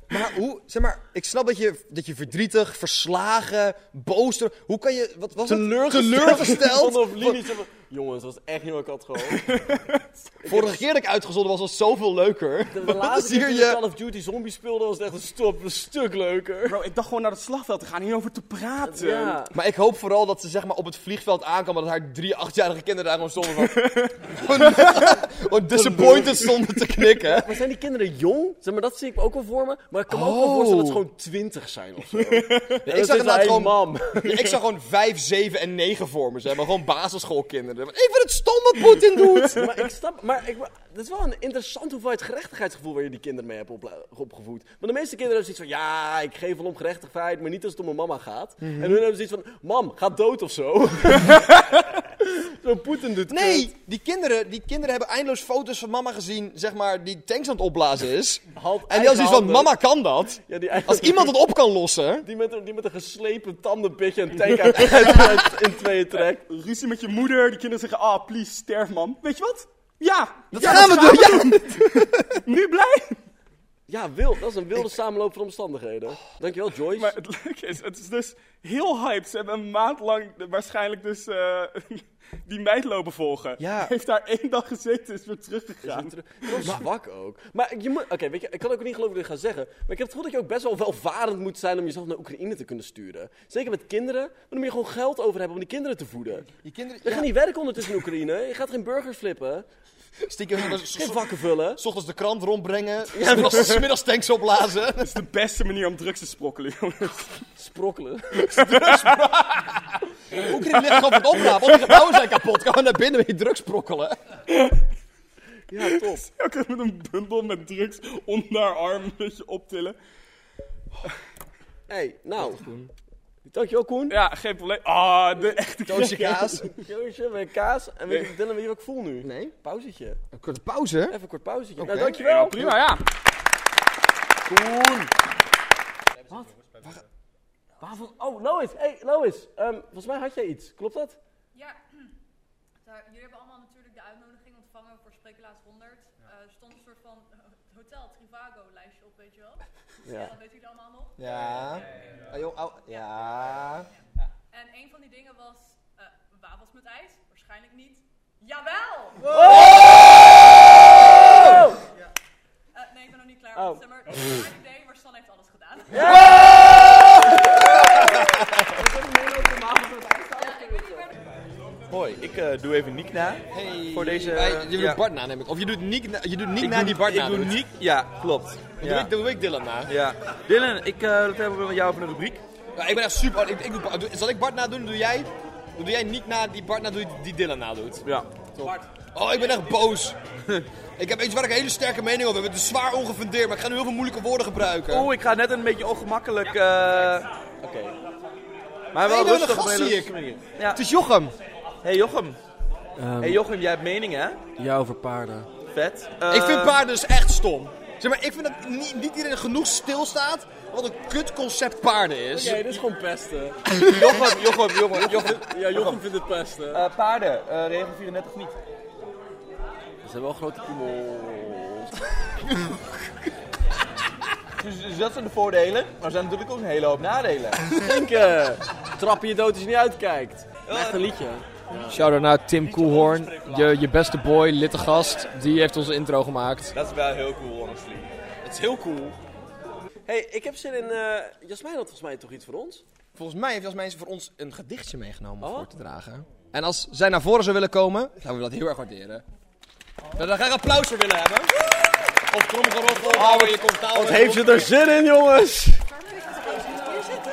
S4: Maar hoe, zeg maar, ik snap dat je, dat je verdrietig, verslagen, boos... Hoe kan je, wat was het? [LAUGHS] Teleurgesteld.
S3: Zonder op linie, zeg maar, Jongens, dat was echt niet wat ik had gehoopt.
S4: Vorige keer dat ik uitgezonden was, was zoveel leuker.
S3: De
S4: Wat is [LAUGHS]
S3: laatste keer
S4: hier
S3: toen ik
S4: je...
S3: Call of Duty zombie speelde was het echt een, stop, een stuk leuker.
S6: Bro, ik dacht gewoon naar het slagveld te gaan, hierover te praten.
S3: Ja.
S4: Maar ik hoop vooral dat ze zeg maar, op het vliegveld aankwam en dat haar drie achtjarige kinderen daar gewoon stonden van... Gewoon- gewoon disappointed stonden te knikken.
S3: Maar zijn die kinderen jong? Zeg maar, dat zie ik ook wel voor me. Maar ik kan me ook
S4: Oh.
S3: wel voorstellen dat ze gewoon twintig zijn of zo.
S4: Ja, ik, zag
S3: dat is
S4: inderdaad
S3: hij,
S4: gewoon,
S3: mam.
S4: Ja, ik zag gewoon vijf, zeven en negen voor me, zeg maar. Gewoon basisschoolkinderen. Ik vind het stom wat Poetin doet!
S3: Ja, maar ik snap, maar ik, dat is wel een interessant hoeveelheid gerechtigheidsgevoel waar je die kinderen mee hebt opla- opgevoed. Want de meeste kinderen hebben zoiets van, ja, ik geef wel om gerechtigheid, maar niet als het om mijn mama gaat. En hun hebben zoiets van, mam, ga dood of zo. zo Poetin doet kut.
S4: Nee, die kinderen, die kinderen hebben eindeloos foto's van mama gezien, zeg maar, die tanks aan het opblazen is.
S3: Halt
S4: En die als iets van,
S3: eigenhandig.
S4: mama kan dat.
S3: Ja, die eigen-
S4: Als iemand het op kan lossen.
S3: Die met, een- die met een geslepen tandenpitje en tank uit, uit- uit- in tweeën trekt.
S6: Ruzie met je moeder, die kinderen zeggen, ah, please, sterf man. Weet je wat? Ja, dat
S4: Ja, gaan we doen! Ja.
S6: nu blij.
S3: Ja, wild. Dat is een wilde samenloop van omstandigheden. Dankjewel, Joyce.
S6: Maar het leuke is, het is dus heel hyped. Ze hebben een maand lang de- waarschijnlijk dus eh, [LAUGHS] die meid lopen volgen.
S4: Ja.
S6: Heeft daar één dag gezeten, is weer teruggegaan.
S3: Heel zwak ook. Maar je moet... Oké, weet je, ik kan ook niet geloven dat ik ga zeggen. Maar ik heb het gevoel dat je ook best wel welvarend moet zijn om jezelf naar Oekraïne te kunnen sturen. Zeker met kinderen. Maar dan moet je gewoon geld over hebben om die kinderen te voeden.
S4: Die kinderen,
S3: Je gaat niet werken ondertussen in Oekraïne. Je gaat geen burgers flippen.
S4: stiekem
S3: Geen vakken vullen.
S4: S ochtends de krant rondbrengen, smiddags tanks opblazen.
S6: Dat Dus is de beste manier om drugs te sprokkelen, jongens.
S3: Sprokkelen.
S4: Oekraïne ligt gewoon van de opname, want die gebouwen zijn kapot. Gaan we naar binnen met je drugs prokkelen.
S3: Ja, top.
S6: [LAUGHS] Ook met een bundel met drugs onder haar arm een beetje optillen.
S3: hey, nou. Dankjewel, Koen.
S6: Ja, geen probleem. Ah, de echte
S4: Toosje
S6: [LAUGHS]
S4: kaas.
S3: Joosje, weer kaas. En weet je, Dylan, weet je wat ik voel nu? Nee. Pauzetje.
S4: Een korte pauze.
S3: Even een kort pauzetje. Nou, dankjewel.
S6: Prima, ja.
S3: Waarvan? Oh, Lois. hey, Lois. Ehm, volgens mij had jij iets. Klopt dat?
S10: Ja, [CLEARS THROAT] daar- jullie hebben allemaal natuurlijk de uitnodiging ontvangen voor Sprekelaars 100. Eh, er stond een soort van eh, hotel Trivago lijstje op, weet je wel. [LAUGHS] Ja. dat weten jullie allemaal nog.
S4: Ja. Ah, joh, au- ja.
S10: En een van die dingen was eh, wafels met ijs. Waarschijnlijk niet. Jawel! Eh, nee, ik ben nog niet klaar.
S3: Oh.
S10: Zeg maar, mijn idee, maar Stan heeft alles gedaan. Ja, ik weet niet meer
S11: Hoi, ik eh, doe even Nick na. Voor deze...
S4: Wij- je doet
S11: ja.
S4: Bart na, neem ik. Of je doet Nick na, je doet Nick
S11: Ik
S4: na
S11: doe-
S4: die Bart
S11: Ik
S4: na
S11: doe
S4: doet.
S11: Nick, ja, klopt.
S4: Dan
S11: Ja.
S4: doe, ik, dan doe ik Dylan na.
S11: Ja. Dylan, ik eh dat hebben we met jou over een rubriek.
S4: Ja, ik ben echt super... Ik, ik doe, Bart- doe- zal ik Bart na doen? Doe jij... Dan doe jij Nick na die Bart na doet die Dylan na doet.
S11: Ja.
S4: Oh, ik ben echt
S11: [LAUGHS]
S4: boos. ik heb iets waar ik een hele sterke mening over heb. Het is zwaar ongefundeerd, maar ik ga nu heel veel moeilijke woorden gebruiken.
S11: Oeh, Oh, ik ga net een beetje ongemakkelijk. eh Oké. Maar wel
S4: Hey,
S3: nou,
S4: we hebben een
S11: rustig.
S4: gast,
S11: op een
S4: zie
S11: hele rustige manier. Ja.
S4: Het is Jochem.
S11: Hey Jochem. hey Jochem, jij hebt mening hè?
S3: Ja, over paarden.
S11: Vet.
S4: Ik vind
S11: Eh,
S4: paarden dus echt stom. Zeg maar, ik vind dat niet, niet iedereen genoeg stilstaat wat een kut concept paarden
S11: Oh,
S4: is.
S3: Nee, dit is gewoon pesten.
S11: Jochem, Jochem, Jochem, Jochem.
S3: Ja, Jochem vindt het pesten.
S11: Eh, paarden, eh, regel 34 niet.
S3: Ze hebben wel grote piemels.
S11: Dus, dus dat zijn de voordelen, maar er zijn natuurlijk ook een hele hoop nadelen.
S3: Drinken! Trappen je dood als je niet uitkijkt. Echt een liedje.
S4: Shout-out naar Tim Koelhoorn, je, je beste boy, litte gast. Die heeft onze intro gemaakt.
S11: Dat is wel heel cool, honestly.
S4: Het is heel cool.
S3: hey, ik heb zin in... eh Jasmijn had volgens mij toch iets voor ons?
S4: Volgens mij heeft Jasmijn voor ons een gedichtje meegenomen om
S3: Oh.
S4: voor te dragen. En als zij naar voren zou willen komen, zouden we dat heel erg waarderen. Dat we daar graag applaus voor willen hebben. Of tromgeroffel, oh, je comfortabel
S6: Wat heeft ze er zin in, jongens?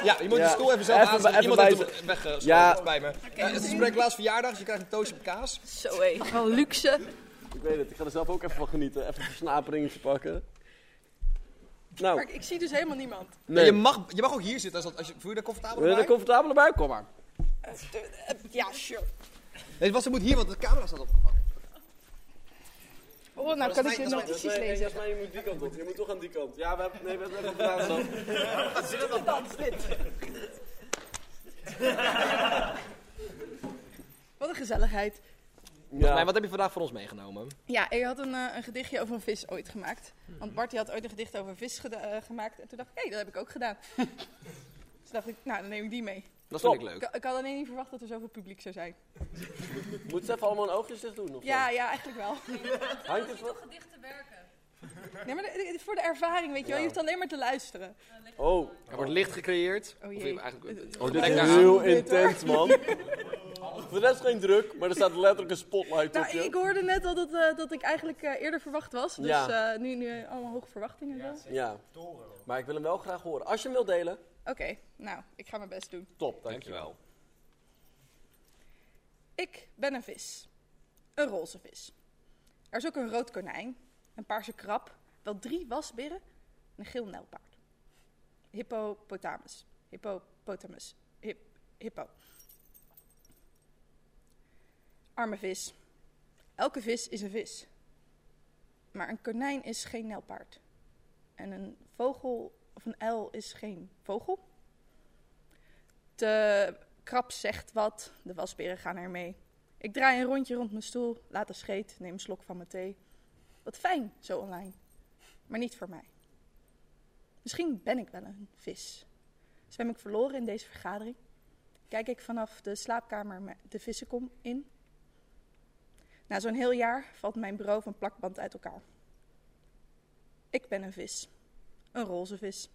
S4: Ja, je moet de stoel even zelf
S6: Even-
S4: aanzetten.
S6: even
S4: Iemand heeft hem weggeschoven,
S6: Ja.
S4: ja. bij me. Ja, het is Spreeklaas verjaardag, dus je krijgt een toastje op kaas.
S10: Zo [LAUGHS] hé, wel luxe.
S3: Ik weet het, ik ga er zelf ook even van genieten. Even een versnaperingetje pakken. Nou,
S10: Maar ik zie dus helemaal niemand.
S4: En Je, mag, je mag ook hier zitten, als, dat- als je, voel je daar comfortabel
S3: wil je
S4: bij?
S3: er comfortabel bij? Kom maar.
S10: Ja, sure.
S4: Nee, Bas, ze moet hier, want de camera staat opgevangen.
S12: Oh, nou kan ik je
S4: Jasmijn,
S12: notities lezen.
S3: Jasmijn, je moet die kant op. Je moet toch aan die kant. Ja, we hebben... Nee, we hebben het gedaan zo.
S12: Wat een gezelligheid.
S4: Jasmijn, wat heb je vandaag voor ons meegenomen?
S12: Ja, ik had een, eh, een gedichtje over een vis ooit gemaakt. Want Bart die had ooit een gedicht over een vis geda- eh, gemaakt. En toen dacht ik, hé, dat heb ik ook gedaan. dus dacht ik, nou, dan neem ik die mee.
S4: Dat vind ik leuk.
S12: Ik, ik had alleen niet verwacht dat er zoveel publiek zou zijn.
S3: Moeten ze even allemaal een oogjes dicht doen? Of
S12: Ja, ja, eigenlijk wel.
S3: zo? Handjes wat?
S10: Gedichten werken.
S12: Nee, maar de- de- voor de ervaring, weet je wel. Je hoeft alleen maar te luisteren.
S3: Oh,
S4: Er wordt licht gecreëerd.
S12: Oh
S4: Of
S12: jee.
S4: je- eigenlijk,
S3: dit
S4: Kijk
S3: is
S4: daar.
S3: heel intens,
S12: [LAUGHS]
S3: man. Voor de rest geen druk, maar er staat letterlijk een spotlight op
S12: Nou, ik
S3: je.
S12: hoorde net al dat, eh, dat ik eigenlijk eh, eerder verwacht was. Dus
S3: Ja.
S12: eh, nu, nu eh, allemaal hoge verwachtingen. wel.
S3: Ja, maar ik wil hem wel graag horen. Als je hem wilt delen,
S12: Oké, nou, ik ga mijn best doen.
S3: top, dankjewel.
S4: Dankjewel.
S12: Ik ben een vis. Een roze vis. Er is ook een rood konijn, een paarse krab, wel drie wasberen en een geel nijlpaard. Hippopotamus. Hippopotamus. Hip, hippo. Arme vis. Elke vis is een vis. Maar een konijn is geen nijlpaard. En een vogel of een uil is geen vogel. De krab zegt wat, de wasberen gaan er mee. Ik draai een rondje rond mijn stoel, laat een scheet, neem een slok van mijn thee. Wat fijn, zo online. Maar niet voor mij. Misschien ben ik wel een vis. Zwem ik verloren in deze vergadering? Kijk ik vanaf de slaapkamer me- de vissenkom in? Na zo'n heel jaar valt mijn bureau van plakband uit elkaar. Ik ben een vis. Een roze vis.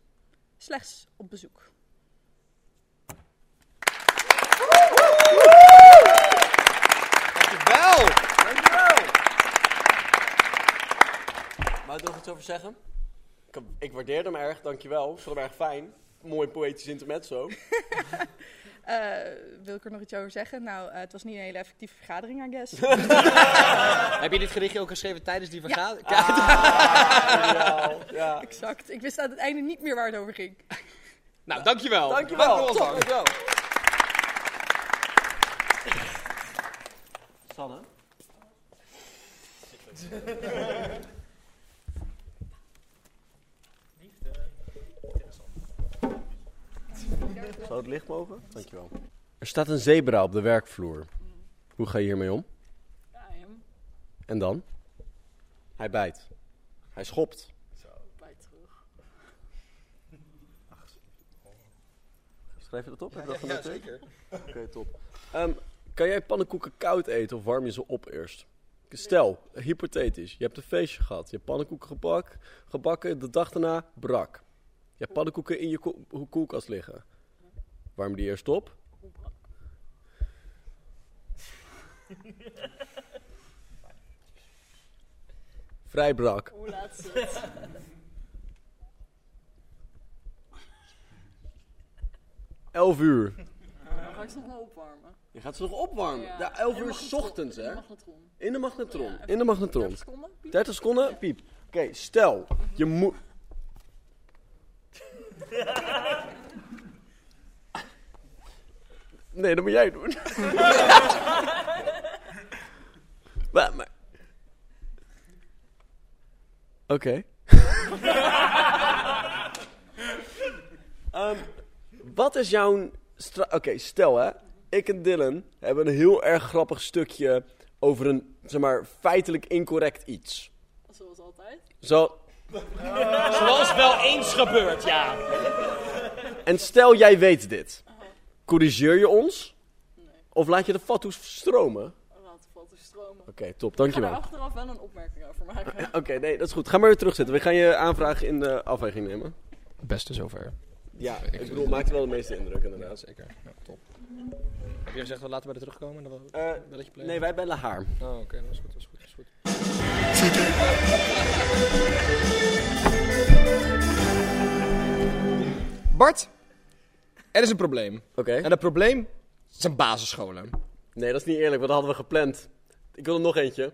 S12: Slechts op bezoek.
S4: Dankjewel!
S3: Wou je er nog iets over zeggen? Ik, ik waardeer hem erg, dankjewel. Ik vond hem erg fijn. Mooi poëtisch intermezzo.
S12: Eh, wil ik er nog iets over zeggen? Nou, eh, het was niet een hele effectieve vergadering, I guess.
S9: [LAUGHS]
S13: Oh.
S4: Heb je dit gedichtje ook geschreven tijdens die vergadering?
S3: Ja.
S12: exact. Ik wist aan het einde niet meer waar het over ging.
S4: Nou, dankjewel.
S3: Dankjewel.
S4: Dank voor ons dan.
S3: Sanne?
S5: Zou het licht mogen?
S3: Dankjewel. Er staat een zebra op de werkvloer. Hoe ga je hiermee om? En dan? Hij bijt. Hij schopt. [LAUGHS] Schrijf je dat op? Heb je dat van de zeker. Oké, top. Ehm, kan jij pannenkoeken koud eten of warm je ze op eerst? Stel, hypothetisch, je hebt een feestje gehad. Je hebt pannenkoeken gebak, gebakken, de dag daarna brak. Je hebt pannenkoeken in je ko- ho- koelkast liggen. Warm die eerst op. Vrij brak.
S12: Hoe laat is het?
S3: Elf uur.
S12: Ga ik ze nog wel opwarmen?
S3: Je gaat ze nog opwarmen. Ja, 11 uur 's ochtends, hè?
S12: Magnetron.
S3: In de magnetron. In de magnetron.
S12: Seconden?
S3: 30 seconden, piep. Oké, stel, je moet... Nee, dat moet jij doen. maar, maar... Oké. Ehm, wat is jouw... stra- Oké, stel hè, ik en Dylan hebben een heel erg grappig stukje over een, zeg maar, feitelijk incorrect iets.
S12: Zoals altijd.
S3: Zo.
S4: [LAUGHS] Zoals wel eens gebeurt, ja.
S3: En stel jij weet dit. Corrigeer je ons? Of laat je de fatsoes stromen? Oké,
S12: Laat valt te stromen.
S3: top, dankjewel. Oké,
S12: achteraf
S3: [LAUGHS]
S12: wel een opmerking over maken.
S3: nee, dat is goed. Ga maar weer terugzitten. We gaan je aanvraag in de afweging nemen.
S13: het beste zover.
S3: Ja,
S13: Weet
S3: ik bedoel, maakt wel de meeste indruk
S13: Ja,
S3: inderdaad.
S13: zeker. Ja, top. Heb je gezegd, we laten we er terugkomen? Dat we,
S3: Eh,
S13: dat je play-
S3: nee, wij bellen haar.
S13: Oh, oké, dat is goed, dat is goed, dat is goed.
S4: Bart, er is een probleem. Oké. En dat probleem zijn basisscholen.
S3: Nee, dat is niet eerlijk, want dat hadden we gepland. Ik wil er nog eentje.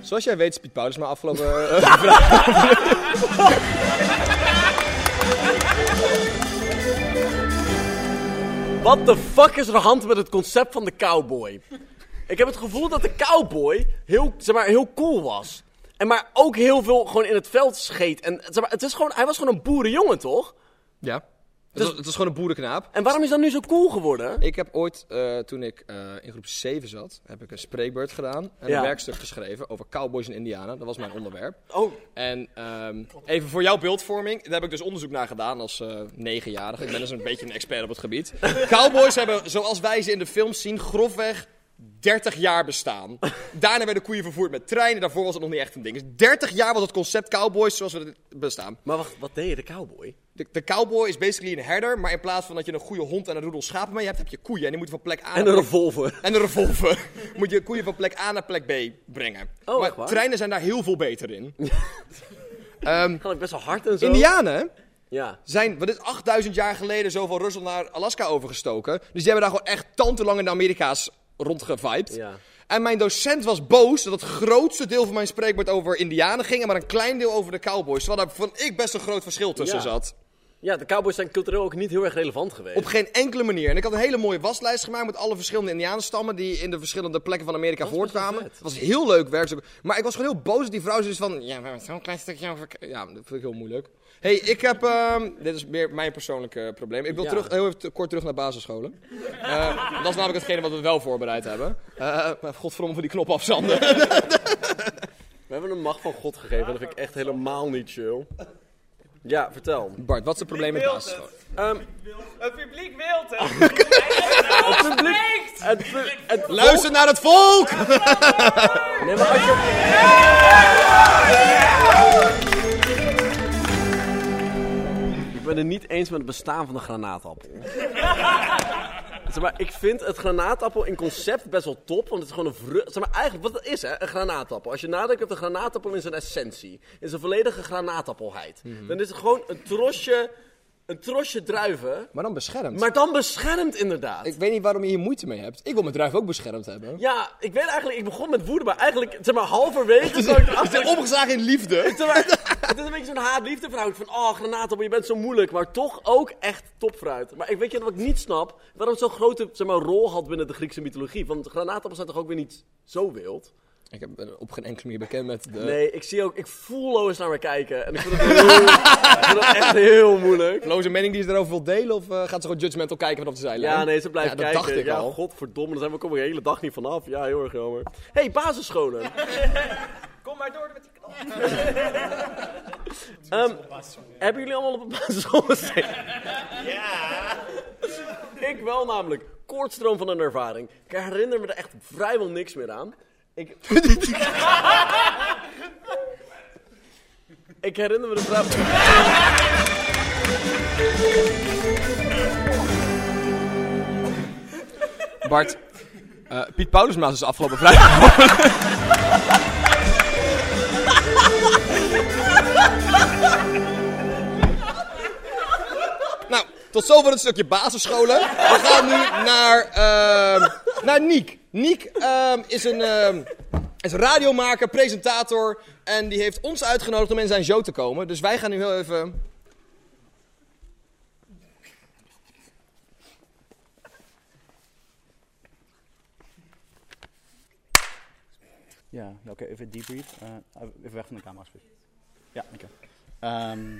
S4: Zoals jij weet, Piet Paulus maar
S13: [LAUGHS]
S4: afgelopen eh, vrijdag.
S3: Wat de fuck is er aan de hand met het concept van de cowboy? Ik heb het gevoel dat de cowboy heel, zeg maar, heel cool was. En maar ook heel veel gewoon in het veld scheet. En, zeg maar, het is gewoon, hij was gewoon een boerenjongen, toch?
S4: Ja. Het, was, het was gewoon een boerenknaap.
S3: En waarom is dat nu zo cool geworden?
S4: Ik heb ooit, eh, toen ik eh, in groep 7 zat, heb ik een spreekbeurt gedaan. En
S3: Ja.
S4: een werkstuk geschreven over cowboys in Indianen. Dat was mijn onderwerp.
S3: Oh.
S4: En ehm, even voor jouw beeldvorming. Daar heb ik dus onderzoek naar gedaan als eh, negenjarige. Ik ben dus een beetje een expert op het gebied. Cowboys hebben, zoals wij ze in de films zien, grofweg 30 jaar bestaan. Daarna werden koeien vervoerd met treinen. Daarvoor was het nog niet echt een ding. Dus 30 jaar was het concept cowboys zoals we het bestaan.
S3: Maar wacht, wat deed je, de cowboy?
S4: De, de cowboy is basically een herder, maar in plaats van dat je een goede hond en een roedel schapen mee hebt, heb je koeien. En die moeten van plek A
S3: En
S4: naar
S3: een
S4: plek-
S3: revolver. [LAUGHS]
S4: En een revolver. [LAUGHS] Moet je koeien van plek A naar plek B brengen.
S3: Oh,
S4: maar
S3: echt waar?
S4: treinen zijn daar heel veel beter in.
S3: Kan ik best wel hard en zo.
S4: Indianen
S3: Ja.
S4: zijn, wat is 8000 jaar geleden, zo van Rusland naar Alaska overgestoken. Dus die hebben daar gewoon echt tantelang in de Amerika's rondgevibed.
S3: Ja.
S4: En mijn docent was boos dat het grootste deel van mijn spreekwoord over Indianen ging, en maar een klein deel over de cowboys. Terwijl daar van ik best een groot verschil tussen
S3: Ja.
S4: zat.
S3: Ja, de cowboys zijn cultureel ook niet heel erg relevant geweest.
S4: Op geen enkele manier. En ik had een hele mooie waslijst gemaakt met alle verschillende Indianenstammen die in de verschillende plekken van Amerika voortkwamen. Het was heel leuk werk. Maar ik was gewoon heel boos dat die vrouw zoiets van. Ja, maar zo'n klein stukje over. Ja, dat vind ik heel moeilijk. hey, ik heb. ehm, dit is meer mijn persoonlijke probleem. Ik wil
S3: Ja.
S4: terug, heel even te- kort terug naar basisscholen. Eh, dat is namelijk hetgene wat we wel voorbereid hebben. Eh maar godverdomme van die knop afzanden.
S3: We hebben een macht van God gegeven, dat vind ik echt helemaal niet chill. Ja, vertel.
S4: Bart, wat is het probleem met
S6: Wilt
S4: basisscholen?
S3: Ehm,
S6: Het publiek wil het. Het
S3: publiek. Het, pu- het
S4: Luister naar het volk!
S3: Nee, maar als je... Ik ben het niet eens met het bestaan van de granaatappel. [LAUGHS] zeg maar, ik vind het granaatappel in concept best wel top, want het is gewoon een vrucht... Zeg maar, eigenlijk, wat het is, hè, een granaatappel. Als je nadenkt op een granaatappel in zijn essentie, in zijn volledige granaatappelheid,
S4: Mhm.
S3: dan is het gewoon een trosje, een trosje druiven,
S4: Maar dan beschermd.
S3: maar dan beschermd inderdaad.
S4: Ik weet niet waarom je hier moeite mee hebt. Ik wil mijn druif ook beschermd hebben.
S3: Ja, ik weet eigenlijk, ik begon met woede, maar eigenlijk, zeg maar,
S4: [LAUGHS]
S3: halverwege kwam ik erachter...
S4: Opgeslagen in liefde.
S3: Zeg maar, [LAUGHS] het is een beetje zo'n haat-liefde verhouding van, oh, granaatappel, je bent zo moeilijk, maar toch ook echt topfruit. Maar ik weet je wat ik niet snap, waarom het zo'n grote zeg maar, rol had binnen de Griekse mythologie? Want granaatappels zijn toch ook weer niet zo wild?
S4: Ik heb- ben op geen enkele manier bekend met de...
S3: Nee, ik zie ook, ik voel Lois naar me kijken en ik vind het, heel, [LAUGHS] ik vind het echt heel moeilijk.
S4: Loze mening die ze daarover wil delen? Of eh, gaat ze gewoon judgmental kijken vanaf de zijlijn?
S3: Ja, nee, ze blijft
S4: Ja, dat
S3: kijken.
S4: dacht ik
S3: ja,
S4: al.
S3: godverdomme, daar zijn we komen de hele dag niet vanaf. Ja, heel erg jammer. hey, basisscholen.
S6: [LAUGHS] Kom maar door met die knop.
S3: [LAUGHS] Ehm, hebben jullie allemaal op een basisschool gezeten?
S6: [LAUGHS]
S3: Ja! ik wel namelijk. Kortstroom van een ervaring. Ik herinner me er echt vrijwel niks meer aan.
S4: [LAUGHS]
S3: Ik... ik herinner me er vrijwel...
S4: Bart, eh, Piet Paulusmaas is afgelopen vrijdag. nou, tot zover het stukje basisscholen. We gaan nu naar, ehm, naar Niek. Niek ehm, is een... ehm, is een radiomaker, presentator. En die heeft ons uitgenodigd om in zijn show te komen. Dus wij gaan nu heel even.
S9: Ja, ja, oké, even debrief. Eh, even weg van de camera, alsjeblieft. Ja, oké. Ehm,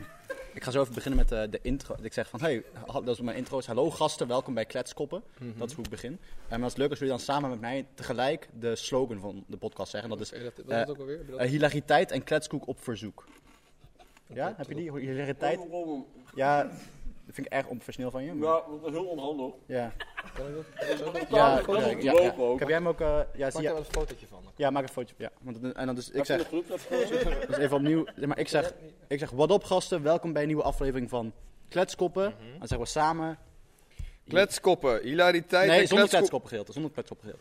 S9: ik ga zo even beginnen met eh, de intro. Ik zeg van, hey, ha- dat is mijn intro. is, Hallo gasten, welkom bij Kletskoppen.
S4: Mhm.
S9: Dat is hoe ik begin. Eh, maar het is leuk als jullie dan samen met mij tegelijk de slogan van de podcast zeggen. En dat is
S4: Oké, dat- dat
S9: eh,
S4: is het ook alweer. Heb je dat-
S9: eh, hilariteit en kletskoek op verzoek. Ja, heb je die? Hilariteit? Ja, Dat vind ik erg onprofessioneel van je. maar-
S14: Oh, Ja, dat is heel onhandig.
S9: Ja.
S14: Kan ik dat?
S9: Ja,
S14: Ja,
S9: ja, ja, ja. Heb jij hem ook... eh, ja,
S14: Maak
S9: zie
S14: daar
S9: je-
S14: wel een fotootje van, dan.
S9: Ja, maak een fotootje. Ja. Want, dan- en dan dus, ik
S14: Maak je
S9: zeg...
S14: dat
S9: [LAUGHS]
S14: goed, dat fotootje?
S9: Dus even opnieuw. Zeg maar ik zeg, ik zeg, wat op gasten, welkom bij een nieuwe aflevering van Kletskoppen. Dan zeggen we samen...
S6: Kletskoppen, hilariteit
S9: Nee, zonder
S6: en kletskop-
S9: kletskoppen gedeelte. Zonder kletskoppen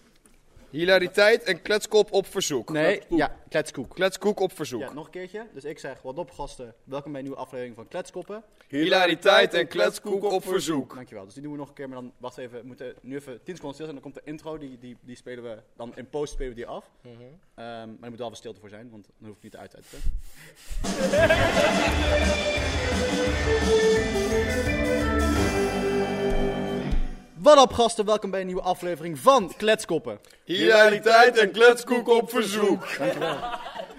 S6: Hilariteit en kletskop op verzoek.
S9: Nee, ja, kletskoek.
S6: Kletskoek op verzoek.
S9: Ja, nog een keertje. Dus ik zeg, wat op gasten, welkom bij een nieuwe aflevering van Kletskoppen.
S6: Hilariteit en kletskoek op verzoek.
S9: Dankjewel. Dus die doen we nog een keer, maar dan wacht even. We moeten nu even 10 seconden stil zijn. Dan komt de intro, die, die, die spelen we, dan in post spelen we die af.
S15: Mhm.
S9: Ehm, maar er moet wel wat stilte voor zijn, want dan hoef ik niet uit te uiten. Wat op gasten, welkom bij een nieuwe aflevering van Kletskoppen.
S6: Hilariteit en kletskoek op verzoek.
S9: Dankjewel.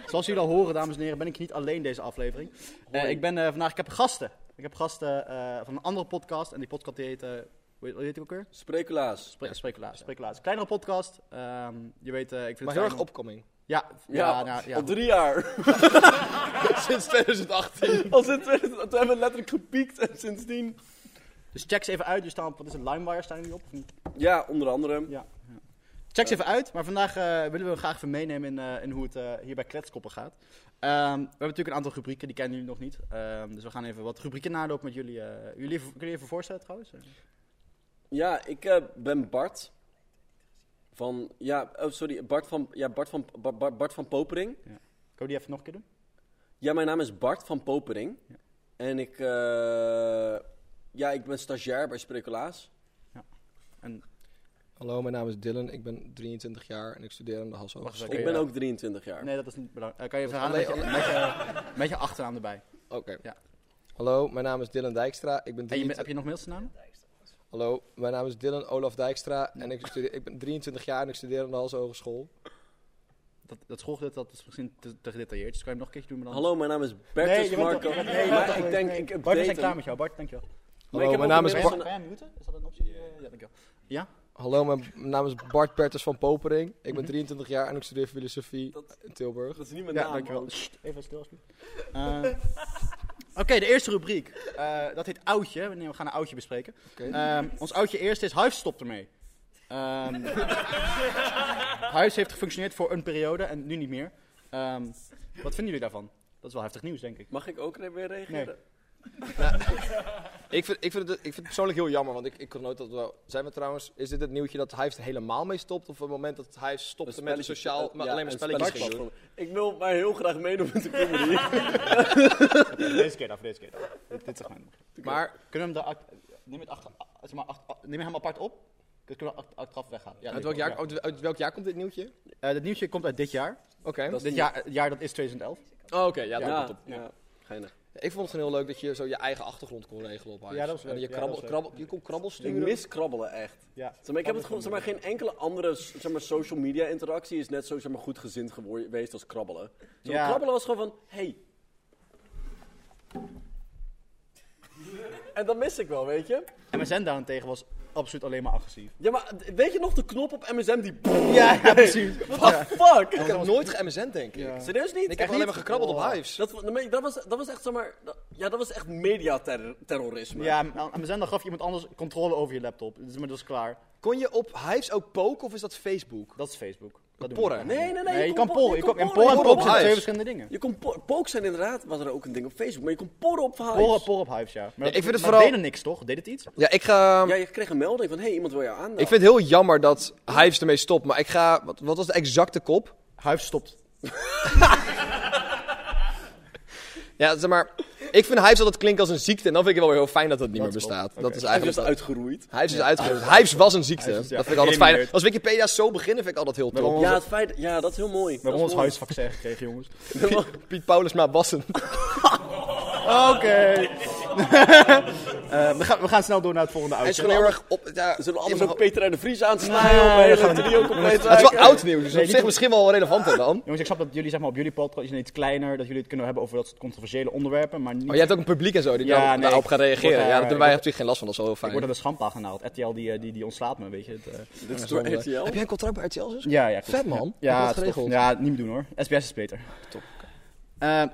S9: Zoals jullie al horen, dames en heren, ben ik niet alleen deze aflevering. Eh, ik ben eh, vandaag, ik heb gasten. Ik heb gasten eh, van een andere podcast en die podcast die heet, eh, hoe heet, hoe heet die ook weer?
S3: Sprekelaars.
S9: Spre Sprekelaars, Sprekelaars. Kleinere podcast. Ehm, je weet, eh, ik vind
S4: Maar
S9: het
S4: heel
S9: fijn
S4: erg
S9: om-
S4: opkoming.
S9: Ja,
S3: Ja,
S9: nou,
S3: al drie
S9: [LAUGHS]
S3: jaar.
S4: Sinds 2018.
S3: [LAUGHS] Al sinds 2018. We hebben letterlijk gepiekt en sindsdien.
S9: Dus check ze even uit. Dus staan, wat is het, LimeWire staan jullie op? Of niet?
S3: Ja, onder andere.
S9: Ja. Check ze even uit, maar vandaag eh, willen we graag even meenemen in, eh, in hoe het eh, hier bij Kletskoppen gaat. Ehm, we hebben natuurlijk een aantal rubrieken, die kennen jullie nog niet. Ehm, dus we gaan even wat rubrieken nalopen met jullie. eh. jullie even- kunnen jullie even voorstellen trouwens?
S3: Ja, ik eh, ben Bart. Van, ja, oh, sorry, Bart van, ja, Bart van, Ba- Ba- Bart van Popering.
S9: Ja. Kan je die even nog een keer doen?
S3: Ja, mijn naam is Bart van Popering. En ik, eh, ja, ik ben stagiair bij Sprekelaas.
S4: Hallo, mijn naam is Dylan. Ik ben 23 jaar en ik studeer aan de Hasso Hogeschool.
S3: Ik ben ook 23 jaar.
S9: Nee, dat is niet belangrijk. Eh, kan je even
S4: Dat
S9: halen
S4: is
S9: met, je-
S4: alleen-
S9: met, je- met je achternaam erbij.
S4: Oké.
S9: Ja.
S4: Hallo, mijn naam is Dylan Dijkstra. Ik ben
S9: En je, bent-
S4: 23
S9: heb je nog mailsnamen?
S4: Hallo, mijn naam is Dylan Olaf Dijkstra en ik, studeer, ik ben 23 jaar en ik studeer aan de Hasso Hogeschool.
S9: Dat, dat schoolgedeelte dat is misschien te, te gedetailleerd, dus kan je hem nog een keertje doen? Maar dan...
S3: Hallo, mijn naam is Bertus
S9: Nee, je bent
S3: Marco.
S9: toch- je bent-
S3: Nee,
S9: je
S3: maar
S9: bent
S3: ik
S9: toch-
S3: denk,
S9: nee.
S3: ik update
S9: Bart, we zijn
S3: hem.
S9: klaar met jou. Bart, dankjewel.
S3: Maar ik
S4: Hallo,
S3: heb
S4: mijn
S3: ook
S4: naam is
S3: een
S4: Bart.
S3: mail van-
S9: Kan jij muten? Is dat een optie? die, eh, Ja, dankjewel. Ja?
S4: Hallo, mijn naam is Bart Bertens van Popering. Ik ben 23 jaar en ik studeer filosofie in Tilburg.
S3: Dat is niet mijn
S4: ja,
S3: naam,
S4: Dankjewel.
S3: man.
S9: Sst, Even stil, alsjeblieft. Eh, Oké, de eerste rubriek. Eh, dat heet Oudje. We nemen- we gaan een Oudje bespreken. Ehm, ons Oudje eerst is Hives stopt ermee. Ehm Hives heeft gefunctioneerd voor een periode en nu niet meer. Ehm, wat vinden jullie daarvan? Dat is wel heftig nieuws, denk ik.
S3: Mag ik ook weer reageren?
S4: Ik vind, ik, vind het, ik vind het persoonlijk heel jammer, want ik, ik kon nooit dat wel. Zijn we trouwens, is dit het nieuwtje dat Hives er helemaal mee stopt? Of op het moment dat Hives stopte met een
S3: spelletje-
S4: sociaal,
S3: eh,
S4: maar
S3: ja,
S4: alleen maar
S3: een
S4: spelletjes
S3: spelletje
S4: ging doen?
S3: platform. Ik wil maar heel graag meedoen met de comedy.
S9: deze keer dan, voor deze keer dan. Dit, dit segment.
S4: Maar-
S9: kunnen we hem daar... act- Neem, het achter, a- zeg maar, achter- a- neem hem apart op. Dan kunnen we acht- achteraf weggaan. Ja,
S4: Uit
S9: dit
S4: welk,
S9: wel,
S4: jaar,
S9: ja.
S4: uit, uit welk jaar komt dit nieuwtje?
S9: Eh, dit nieuwtje komt uit dit jaar.
S4: Oké.
S9: Dit jaar, het jaar dat is 2011.
S4: Oh, oké, ja, dat
S3: Ja,
S4: komt op.
S3: ja. Geinig.
S4: Ik vond het gewoon heel leuk dat je zo je eigen achtergrond kon regelen op Hives.
S9: Ja, dat was
S4: En
S9: leuk.
S4: je,
S9: Ja,
S4: krabbel,
S9: dat was leuk.
S4: krabbel, je kon krabbel
S3: Ik
S4: sturen.
S3: mis krabbelen echt.
S9: Ja.
S3: Zeg maar, ik heb het gewoon, zeg maar, geen enkele andere s- zeg maar, social media interactie is net zo zeg maar, goed gezind gewor- geweest als krabbelen. Zeg maar,
S9: Ja.
S3: Krabbelen was gewoon van, hey. en dat mis ik wel, weet je?
S9: MSN daarentegen was absoluut alleen maar agressief.
S3: Ja, maar d- weet je nog de knop op MSM die...
S9: Ja, ja, precies.
S3: [LAUGHS] What the fuck?
S4: Ik heb nooit ge-MSN, denk ik.
S3: Serieus niet?
S4: Ik heb alleen maar gekrabbeld op Hives.
S3: Dat, wa- nee, dat, was, dat was echt, zeg maar... dat- ja, dat was echt mediaterrorisme.
S9: Ja, nou, aan MSN dan gaf je iemand anders controle over je laptop. Dus maar dat is klaar.
S4: Kon je op Hives ook poken of is dat Facebook?
S9: Dat is Facebook. Dat doen
S4: Porren.
S9: we.
S3: Nee, nee, nee.
S9: Nee, je
S3: kon
S9: kan
S3: po-
S9: pollen.
S3: je
S9: Je
S3: kon
S9: kon- En
S3: pollen,
S9: pollen en
S3: je
S9: pop
S3: kon
S9: zijn
S3: op
S9: twee
S3: Hives.
S9: verschillende dingen.
S3: Je kon po- pokes en inderdaad was er ook een ding op Facebook, maar je kon porren op Hives.
S9: Porren, porren op Hives, ja. Maar, dat-
S4: ik vind het
S9: maar
S4: vooral-
S9: deden niks, toch? Deed het iets?
S4: Ja, ik ga...
S3: Ja, je kreeg een melding van, hé, hey, iemand wil jou aandacht.
S4: Ik vind het heel jammer dat Hives ermee stopt, maar ik ga... Wat, wat was de exacte kop?
S9: Hives stopt.
S4: Ja, zeg maar... Ik vind Hives altijd klinken als een ziekte en dan vind ik het wel weer heel fijn dat dat niet meer
S9: klopt.
S4: bestaat. Dat
S9: Oké.
S4: is
S3: Hij is
S4: eigenlijk...
S3: uitgeroeid.
S4: Hives is uitgeroeid. Hives was een ziekte.
S9: Hives is- ja,
S4: Dat vind ik altijd fijn.
S9: geëlimineerd.
S4: Als Wikipedia zo beginnen vind ik altijd heel
S9: Waarom?
S4: top.
S3: Ja, het feit, ja, dat is heel mooi.
S9: We hebben
S3: Dat
S9: ons
S3: is mooi.
S9: huisvaccin gekregen, jongens.
S4: Piet, [LAUGHS] Piet Paulus maar Bassen.
S9: Oké. Eh, we, gaan, we gaan snel door naar het volgende
S4: Hij is
S9: oudje.
S4: gewoon heel erg op... Ja,
S3: Zullen we anders
S4: in-
S3: ook Peter en de Vries aansnijden? Nee, dat gaat die ook compleet
S4: het is wel
S3: raken?
S4: oud nieuws,
S9: Nee,
S4: dus op
S9: die
S4: zich
S9: kon-
S4: misschien wel relevanter dan.
S9: Jongens, ik snap dat jullie zeg maar, op jullie podcast is iets kleiner, dat jullie het kunnen hebben over dat soort controversiële onderwerpen, maar niet...
S4: Maar jij hebt ook een publiek en zo die
S9: Ja,
S4: daar-
S9: nee,
S4: daarop
S9: ik-
S4: gaat
S9: ik
S4: reageren.
S9: word
S4: ja,
S9: daar-
S4: daar hebben
S9: ik-
S4: wij natuurlijk geen last van, dat is wel heel
S9: Ik word
S4: fijn.
S9: uit de schandpaal gehaald. RTL die, eh, die, die ontslaat me, weet je. Het, eh,
S3: Dit is door
S4: Heb
S3: RTL.
S4: jij een contract bij RTL, zus?
S9: Ja, ja. klopt.
S4: Vet, man.
S9: Ja,
S4: Goed
S9: het is
S4: geregeld.
S9: tof. Ja, niet meer doen hoor. SBS is beter. Top.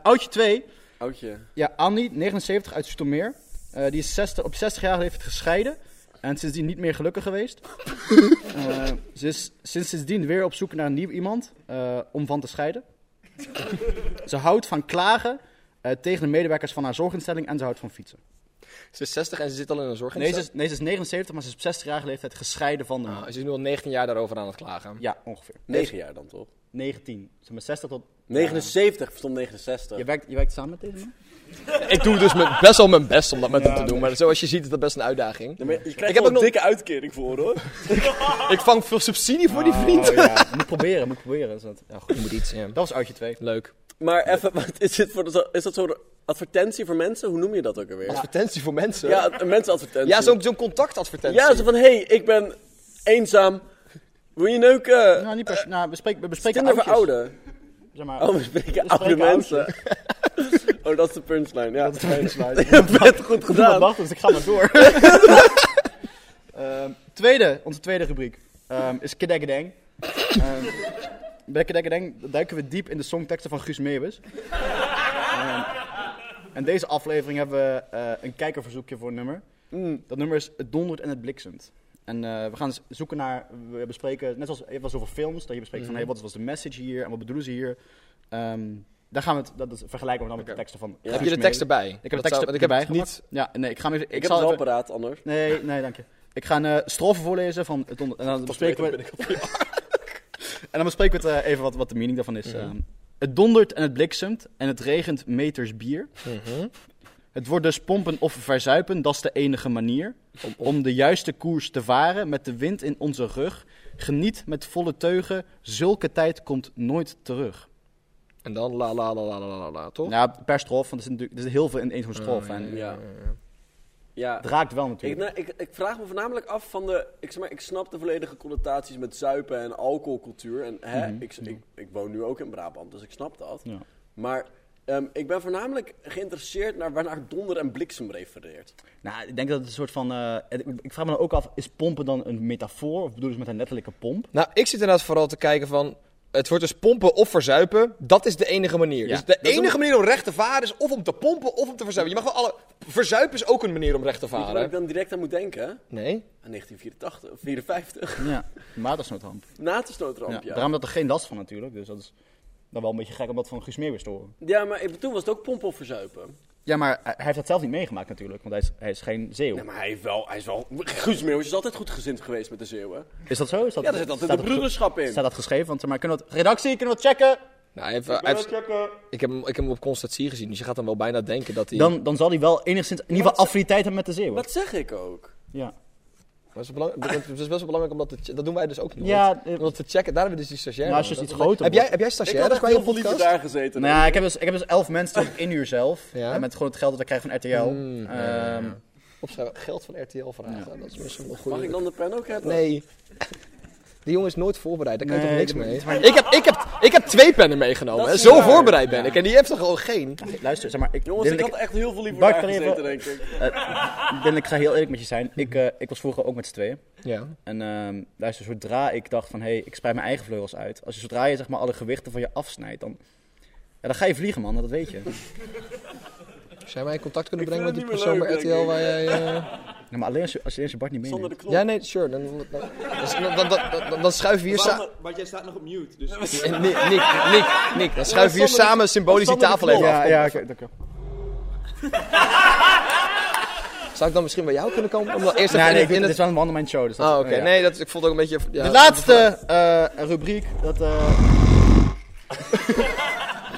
S9: oudje 2.
S3: Oudje.
S9: Ja, Annie, 79, uit Stoemeer. Eh, die is 60, op 60 jaar heeft gescheiden. En sindsdien niet meer gelukkig
S4: [LAUGHS]
S9: geweest. Eh, ze is sinds- sindsdien weer op zoek naar een nieuw iemand eh, om van te
S4: [LAUGHS]
S9: scheiden. ze houdt van klagen eh, tegen de medewerkers van haar zorginstelling en ze houdt van fietsen.
S4: Ze is 60 en ze zit al in een
S9: Nee, ze
S4: zorginstelling.
S9: is, nee, ze is 79, maar ze is op 60-jarige leeftijd gescheiden van de man.
S4: ze Ah, is nu al 19 jaar daarover aan het klagen.
S9: Ja, ongeveer.
S4: 9
S9: jaar dan toch? 19. Zeg maar 60 tot...
S3: 79, verstond 69.
S9: Je werkt, je werkt samen met deze man?
S4: Ik doe dus mijn- best wel mijn best om dat met hem te doen. Maar zoals je ziet is dat best een uitdaging.
S3: maar je krijgt
S4: ik
S3: wel
S4: heb
S3: een
S4: ook nog...
S3: dikke uitkering voor hoor.
S4: Ik vang veel subsidie voor die
S9: Oh,
S4: vriend.
S9: ja. Moet proberen, moet proberen. Is dat- Ja, goed.
S4: Je moet iets, ja.
S9: Dat was uitje 2.
S4: Leuk.
S3: Maar even, [LAUGHS] wat is, dit voor, zo- is dat zo'n advertentie voor mensen? Hoe noem je dat ook alweer?
S4: Advertentie voor mensen.
S3: Ja, een mensenadvertentie.
S4: Ja, zo'n zo'n contactadvertentie.
S3: Ja, zo van, hé, hey, ik ben eenzaam. Wil je neuken?
S9: Nou, niet pers- nou, we, spreken- we bespreken
S3: Tinder voor
S9: oudjes.
S3: ouderen.
S9: Zeg maar,
S3: Oh, we
S9: we
S3: spreken oude mensen. [LAUGHS] Oh, dat is de punchline, ja.
S9: Dat is de
S3: [LAUGHS]
S9: punchline.
S3: Vet goed
S9: Niemand
S3: gedaan.
S9: dacht, dus ik ga maar door.
S4: [LAUGHS]
S9: Ehm, tweede, onze tweede rubriek ehm, is Kedekkedeng. Ehm bij Kedekkedeng duiken we diep in de songteksten van Guus Meeuwis. Ehm, en deze aflevering hebben we eh, een kijkerverzoekje voor een nummer.
S4: Mm.
S9: Dat nummer is Het dondert en het bliksemt. En eh, we gaan eens zoeken naar, we bespreken, net zoals je was over films, dat je bespreekt
S3: Mhm.
S4: Mm-hmm.
S9: van hey, wat was de message hier en wat bedoelen ze hier. Ehm, daar gaan we het, dat, dat vergelijken we dan met de
S4: Oké.
S9: teksten van.
S3: Heb
S9: Guus
S4: je de
S9: Meeuwis.
S4: teksten bij?
S9: Ik heb
S4: Dat
S9: de
S4: zou-
S9: teksten
S4: want ik heb het
S9: erbij gemaakt. Ja, nee, ik ga hem even-
S3: Ik
S9: ik
S3: heb
S9: zal
S3: het wel
S9: even-
S3: paraat, anders.
S9: Nee, nee, dank je. Ik ga een eh, strofe voorlezen van het onder... En dan bespreken we... [LAUGHS] en dan bespreken we het, eh, even wat, wat de meaning daarvan is.
S4: Mhm.
S9: Ehm, het dondert en het bliksemt en het regent meters bier. Het wordt dus pompen of verzuipen, dat is de enige manier. Om, de juiste koers te varen met de wind in onze rug. Geniet met volle teugen, zulke tijd komt nooit terug.
S4: En dan la la la la la la la, toch?
S9: Nou, per strof, want er zit, natuurlijk, er zit heel veel in één zo'n strof. en
S3: Ja. Ja.
S9: Het raakt wel
S3: Ik,
S9: natuurlijk.
S3: nou, ik, ik vraag me voornamelijk af van de. Ik, zeg maar, ik snap de volledige connotaties met zuipen en alcoholcultuur. En hè,
S9: Mhm.
S3: ik, ik, ik woon nu ook in Brabant, dus ik snap dat.
S9: Ja.
S3: Maar ehm, ik ben voornamelijk geïnteresseerd naar waarnaar donder en bliksem refereert.
S9: Nou, ik denk dat het een soort van. eh, ik, ik vraag me dan ook af: is pompen dan een metafoor? Of bedoelen ze met een letterlijke pomp?
S4: Nou, ik zit inderdaad vooral te kijken van... Het wordt dus pompen of verzuipen. Dat is de enige manier.
S9: Ja.
S4: Dus de
S9: Dat is
S4: enige
S9: een-
S4: manier om recht te varen is of om te pompen of om te verzuipen. Je mag wel alle... Verzuipen is ook een manier om recht te
S3: Weet je waar ik
S4: varen.
S3: dan direct aan moet denken? Aan
S4: Nee?
S3: 1984 of 54.
S9: Ja, maar dat is noodhand.
S3: [LAUGHS] Na het snoodramp, ja.
S9: Daarom dat er geen last van natuurlijk. Dus dat is dan wel een beetje gek om dat van Guus Meeuwis te horen.
S3: Ja, maar ik- toen was het ook pomp of verzuipen.
S9: Ja, maar hij hij heeft dat zelf niet meegemaakt natuurlijk, want hij is, hij is geen zeeuw.
S3: Nee, maar hij, heeft wel, hij is wel... Guus Meeuwis is altijd goed gezind geweest met de Zeeuwen.
S9: Is dat zo? Is dat,
S3: Ja, daar zit altijd
S9: staat
S3: een
S9: dat-
S3: broederschap in.
S9: Staat dat geschreven? Want, zeg maar, kunnen we het, redactie, kunnen we het checken?
S4: Nou, hij heeft, hij heeft- ik, heb hem, ik heb hem op constatie gezien, dus je gaat dan wel bijna denken dat hij...
S9: Dan, dan zal hij wel enigszins, in ieder geval affiniteit hebben met de zeeuwen.
S3: Wat zeg ik ook?
S9: Ja.
S4: Maar het, is belang- het is best wel belangrijk om dat te che- Dat doen wij dus ook niet.
S9: Ja,
S4: Ja, om dat te checken. Daar hebben we dus die stagiair.
S9: Nou, als je
S4: nodig.
S9: iets groter
S4: heb jij,
S9: wordt.
S4: heb jij
S3: Ik
S4: stagiaires
S3: had
S4: bij
S3: echt
S4: je
S3: heel veel liever
S4: podcast?
S3: daar gezeten.
S9: Nou, ja, ik heb dus, ik heb dus elf mensen tot één uur zelf.
S4: Ja.
S9: En met gewoon het geld dat ik krijg van RTL.
S4: Mm,
S9: Ehm,
S4: ja, ja. Opschrijven. Geld van RTL vragen. Dat is misschien wel een goede...
S3: Mag ik dan de pen ook hebben?
S4: Nee. Die jongen is nooit voorbereid, daar kan
S9: Nee,
S4: je toch
S9: dat
S4: niks
S9: moet-
S4: mee? Ik heb, ik, heb, ik heb twee pennen
S9: nou,
S4: meegenomen,
S3: Dat
S4: hè.
S3: is
S4: zo
S3: waar.
S4: voorbereid ben ik. En die heeft er gewoon geen.
S9: Luister, zeg maar. Ik,
S3: Jongens, ik
S9: Dylan,
S3: had echt heel veel liever
S9: Bart,
S3: daar
S9: kan je
S3: gezeten, denk ik.
S9: eh, Dylan, ik ga heel eerlijk met je zijn. Ik, eh, ik was vroeger ook met z'n tweeën.
S4: Ja.
S9: En ehm, luister, zodra ik dacht van, hé, hey, ik spreid mijn eigen vleugels uit. Als je zodra je zeg maar alle gewichten van je afsnijdt, dan... Ja, dan ga je vliegen, man. Dat weet je.
S4: Zijn wij in contact kunnen
S3: Ik
S4: brengen met die
S3: vind het
S4: persoon
S3: niet
S4: bij
S3: meer
S4: RTL
S3: leuk,
S4: waar jij... eh,
S9: Ja, maar alleen als je, als je eerst je Bart niet
S3: Zonder de
S9: meeneemt.
S3: knop.
S4: Ja, nee, sure. Dan, dan, dan, dus dan, dan- dan- dan schuiven we hier samen...
S11: Want jij staat nog op mute, dus...
S4: Nick, Nick, Nick, Nick. Dan schuiven we hier samen symbolisch die tafel even
S9: Ja,
S4: af.
S9: ja, oké, dank je.
S4: Zou ik dan misschien bij jou kunnen komen? Om dan eerst
S9: Nee,
S4: even
S9: nee,
S4: in- in
S9: dit
S4: het...
S9: is wel een one-man show. Dus dat,
S4: Ah, oké.
S9: ja.
S4: Nee, dat, is- ik vond het ook een beetje... ja,
S9: De laatste eh, rubriek, dat... eh, [LAUGHS]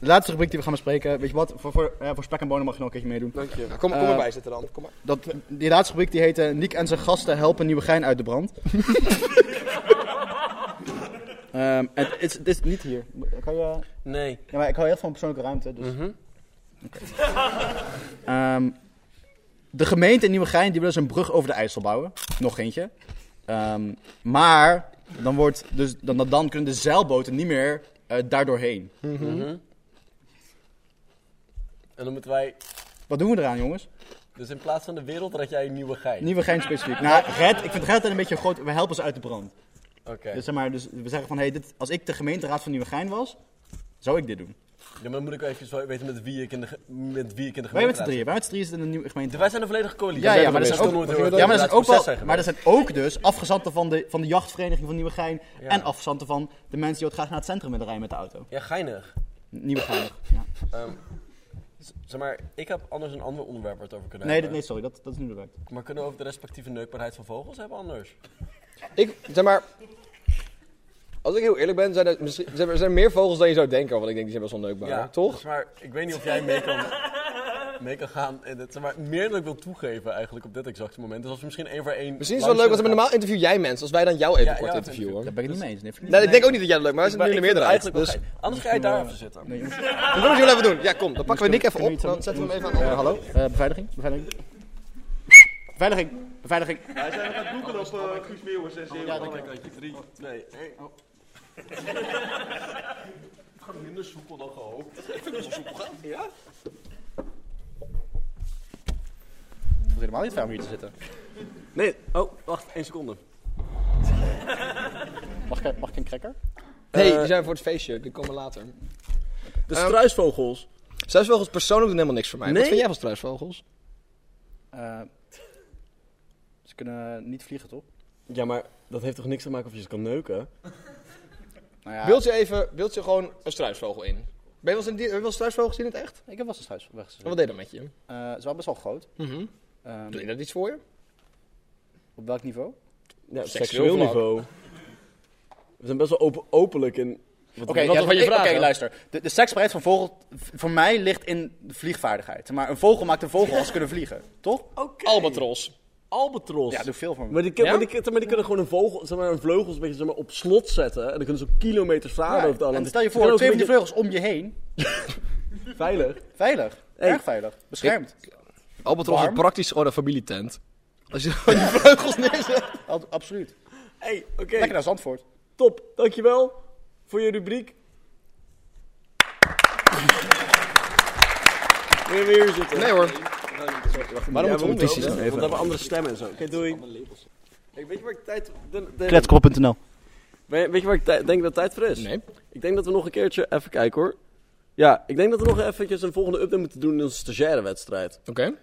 S9: De laatste rubriek die we gaan bespreken, weet je wat, voor, voor, eh, voor spek en bonen mag je nog een keertje meedoen.
S3: Dank je.
S4: Ja, kom, kom
S9: Eh,
S4: erbij zitten dan. Kom maar.
S9: Dat, die laatste rubriek die heette Niek en zijn gasten helpen Nieuwegein uit de brand. Ehm, het, het, is- het is niet hier. Kan je...
S3: Nee.
S9: Ja, maar ik hou heel van persoonlijke ruimte, dus... Oké. Ehm, de gemeente in Nieuwegein die wil dus een brug over de IJssel bouwen. Nog eentje. Ehm, maar dan, wordt dus, dan, dan- dan kunnen de zeilboten niet meer eh daardoor heen.
S3: Mhm. En dan moeten wij...
S9: Wat doen we eraan, jongens?
S3: Dus in plaats van de wereld red jij een nieuwe geit.
S9: Nieuwegein specifiek. Nou, red, ik vind red een beetje een groot... We helpen ze uit de brand.
S3: Oké.
S9: Dus, zeg maar, dus we zeggen van, hey, dit, als ik de gemeenteraad van Nieuwegein was, zou ik dit doen.
S3: Ja, maar dan moet ik wel even weten met wie ik in de, ge- met wie ik in de gemeente
S9: Wij met z'n drieën. Wij met z'n drieën zitten in een nieuwe gemeente.
S3: Wij zijn een volledige coalitie.
S9: Ja,
S3: Wij
S9: ja,
S3: zijn
S9: maar er
S3: er
S9: zijn
S3: geweest.
S9: ook,
S3: Toen nooit heel
S9: ja, maar er zijn ook,
S3: raadproces
S9: wel,
S3: zijn
S9: maar er zijn ook dus afgezanten van de, van de jachtvereniging van Nieuwegein.
S3: Ja.
S9: En afgezanten van de mensen die ook graag naar het centrum willen rijden met de auto.
S3: Ja, geinig.
S9: Nieuwegein.
S3: Ehm, z- zeg maar, ik heb anders een ander onderwerp waar we het over kunnen
S9: Nee, dat,
S3: hebben.
S9: nee, sorry, dat, dat is nu de werk.
S3: Maar kunnen we over de respectieve neukbaarheid van vogels hebben anders?
S4: Ik, zeg maar... Als ik heel eerlijk ben, zijn er, misschien, zijn er- zijn er meer vogels dan je zou denken. Want ik denk, die zijn best wel neukbaar,
S3: Ja,
S4: toch?
S3: Maar ik weet niet of jij mee kan, mee kan gaan. En dat, zeg maar, meer dan ik wil toegeven eigenlijk op dit exacte moment. Dus als we misschien één voor één...
S4: Misschien is het wel leuk, want een normaal interview jij mensen. Als wij dan jou even
S3: Ja,
S4: kort
S3: ja,
S4: interviewen. hoor.
S9: Daar ben ik het niet mee eens. Nee, vind ik
S4: Nee, ik denk
S9: niet.
S4: ook niet dat jij dat leuk maar wij zijn nu in de
S3: Ik vind het
S4: meerderheid.
S3: eigenlijk
S4: Dus
S3: wel gei- Anders ga jij daar even zitten.
S9: Nee, jongens.
S4: dat willen we wel even doen. Ja, kom. Dan pakken we Nick even op. Dan zetten we hem even aan.
S9: Eh, hallo, Eh, beveiliging, beveiliging. Beveiliging, beveiliging.
S6: Wij zijn aan het googelen op eh, Guus Meeuwers en Zeeuwen.
S9: Ja, dat kan
S6: ik. 3, 2, 1.
S3: oh.
S6: [LAUGHS] Het gaat minder soepel dan gehoopt. Ik vind het wel soepel gaan. Ja?
S9: Het voelt helemaal niet fijn om hier te zitten.
S3: Nee, oh, wacht, één seconde.
S9: Mag ik, mag ik een cracker?
S4: Nee, die zijn voor het feestje. Die komen later.
S3: De
S4: Ehm,
S3: struisvogels.
S4: Struisvogels persoonlijk doen helemaal niks voor mij.
S9: Nee?
S4: Wat vind jij van struisvogels?
S9: Eh, ze kunnen niet vliegen, toch?
S3: Ja, maar dat heeft toch niks te maken of je ze kan neuken?
S9: Nou ja,
S4: Wilt je even, wilt je gewoon een struisvogel in? Ben je wel eens een, dier- heb je wel eens struisvogels in het echt?
S9: Ik heb wel eens een struis weggezet.
S4: En wat deed dat met je?
S9: Eh, het is wel best wel groot.
S4: Mhm.
S9: Ehm,
S4: Doe je dat iets voor je?
S9: op welk niveau?
S3: Ja, op
S4: Seksueel
S3: seksueel
S4: vlak.
S3: niveau. We zijn best wel open, openlijk in... Wat,
S9: Oké,
S3: wat
S9: ja,
S3: van je
S9: ik-
S3: vragen?
S9: oké, luister. De, de seksbaarheid van vogel, v- voor mij, ligt in de vliegvaardigheid. Maar een vogel maakt een vogel als ze kunnen vliegen, toch?
S3: Oh.
S4: Albatros.
S3: Albatros.
S9: Ja, doe veel voor me.
S3: Maar die, kun- maar die, kun- maar die kunnen gewoon een vogel, zeg maar, een vleugels een beetje zeg maar, op slot zetten. En dan kunnen ze op kilometers varen
S9: Ja,
S3: over het
S9: en
S3: land.
S9: stel je
S3: Ze kunnen
S9: voor,
S3: ook
S9: twee van
S3: een
S9: die vleugels om je heen.
S3: beetje Veilig.
S9: Veilig.
S3: Hey.
S9: Erg veilig. Beschermd.
S4: Albatros is
S9: Warm?
S4: praktisch gewoon een familietent. Als je [LAUGHS] gewoon die vleugels neerzet.
S9: [LAUGHS] Al- absoluut.
S3: hey, oké.
S9: Lekker naar Zandvoort.
S3: Top. Dankjewel voor je rubriek. Weer weer hier zitten.
S4: Nee hoor.
S3: Waarom
S4: moeten we audities doen even?
S3: Want we hebben andere stemmen en zo. Oké, doei. Hey, weet je waar ik tijd... de- de-
S9: Kletskop.nl
S3: We- Weet je waar ik tij- denk dat tijd voor is?
S4: Nee.
S3: Ik denk dat we nog een keertje even kijken hoor. Ja, ik denk dat we nog eventjes een volgende update moeten doen in onze stagiaire wedstrijd.
S4: Oké.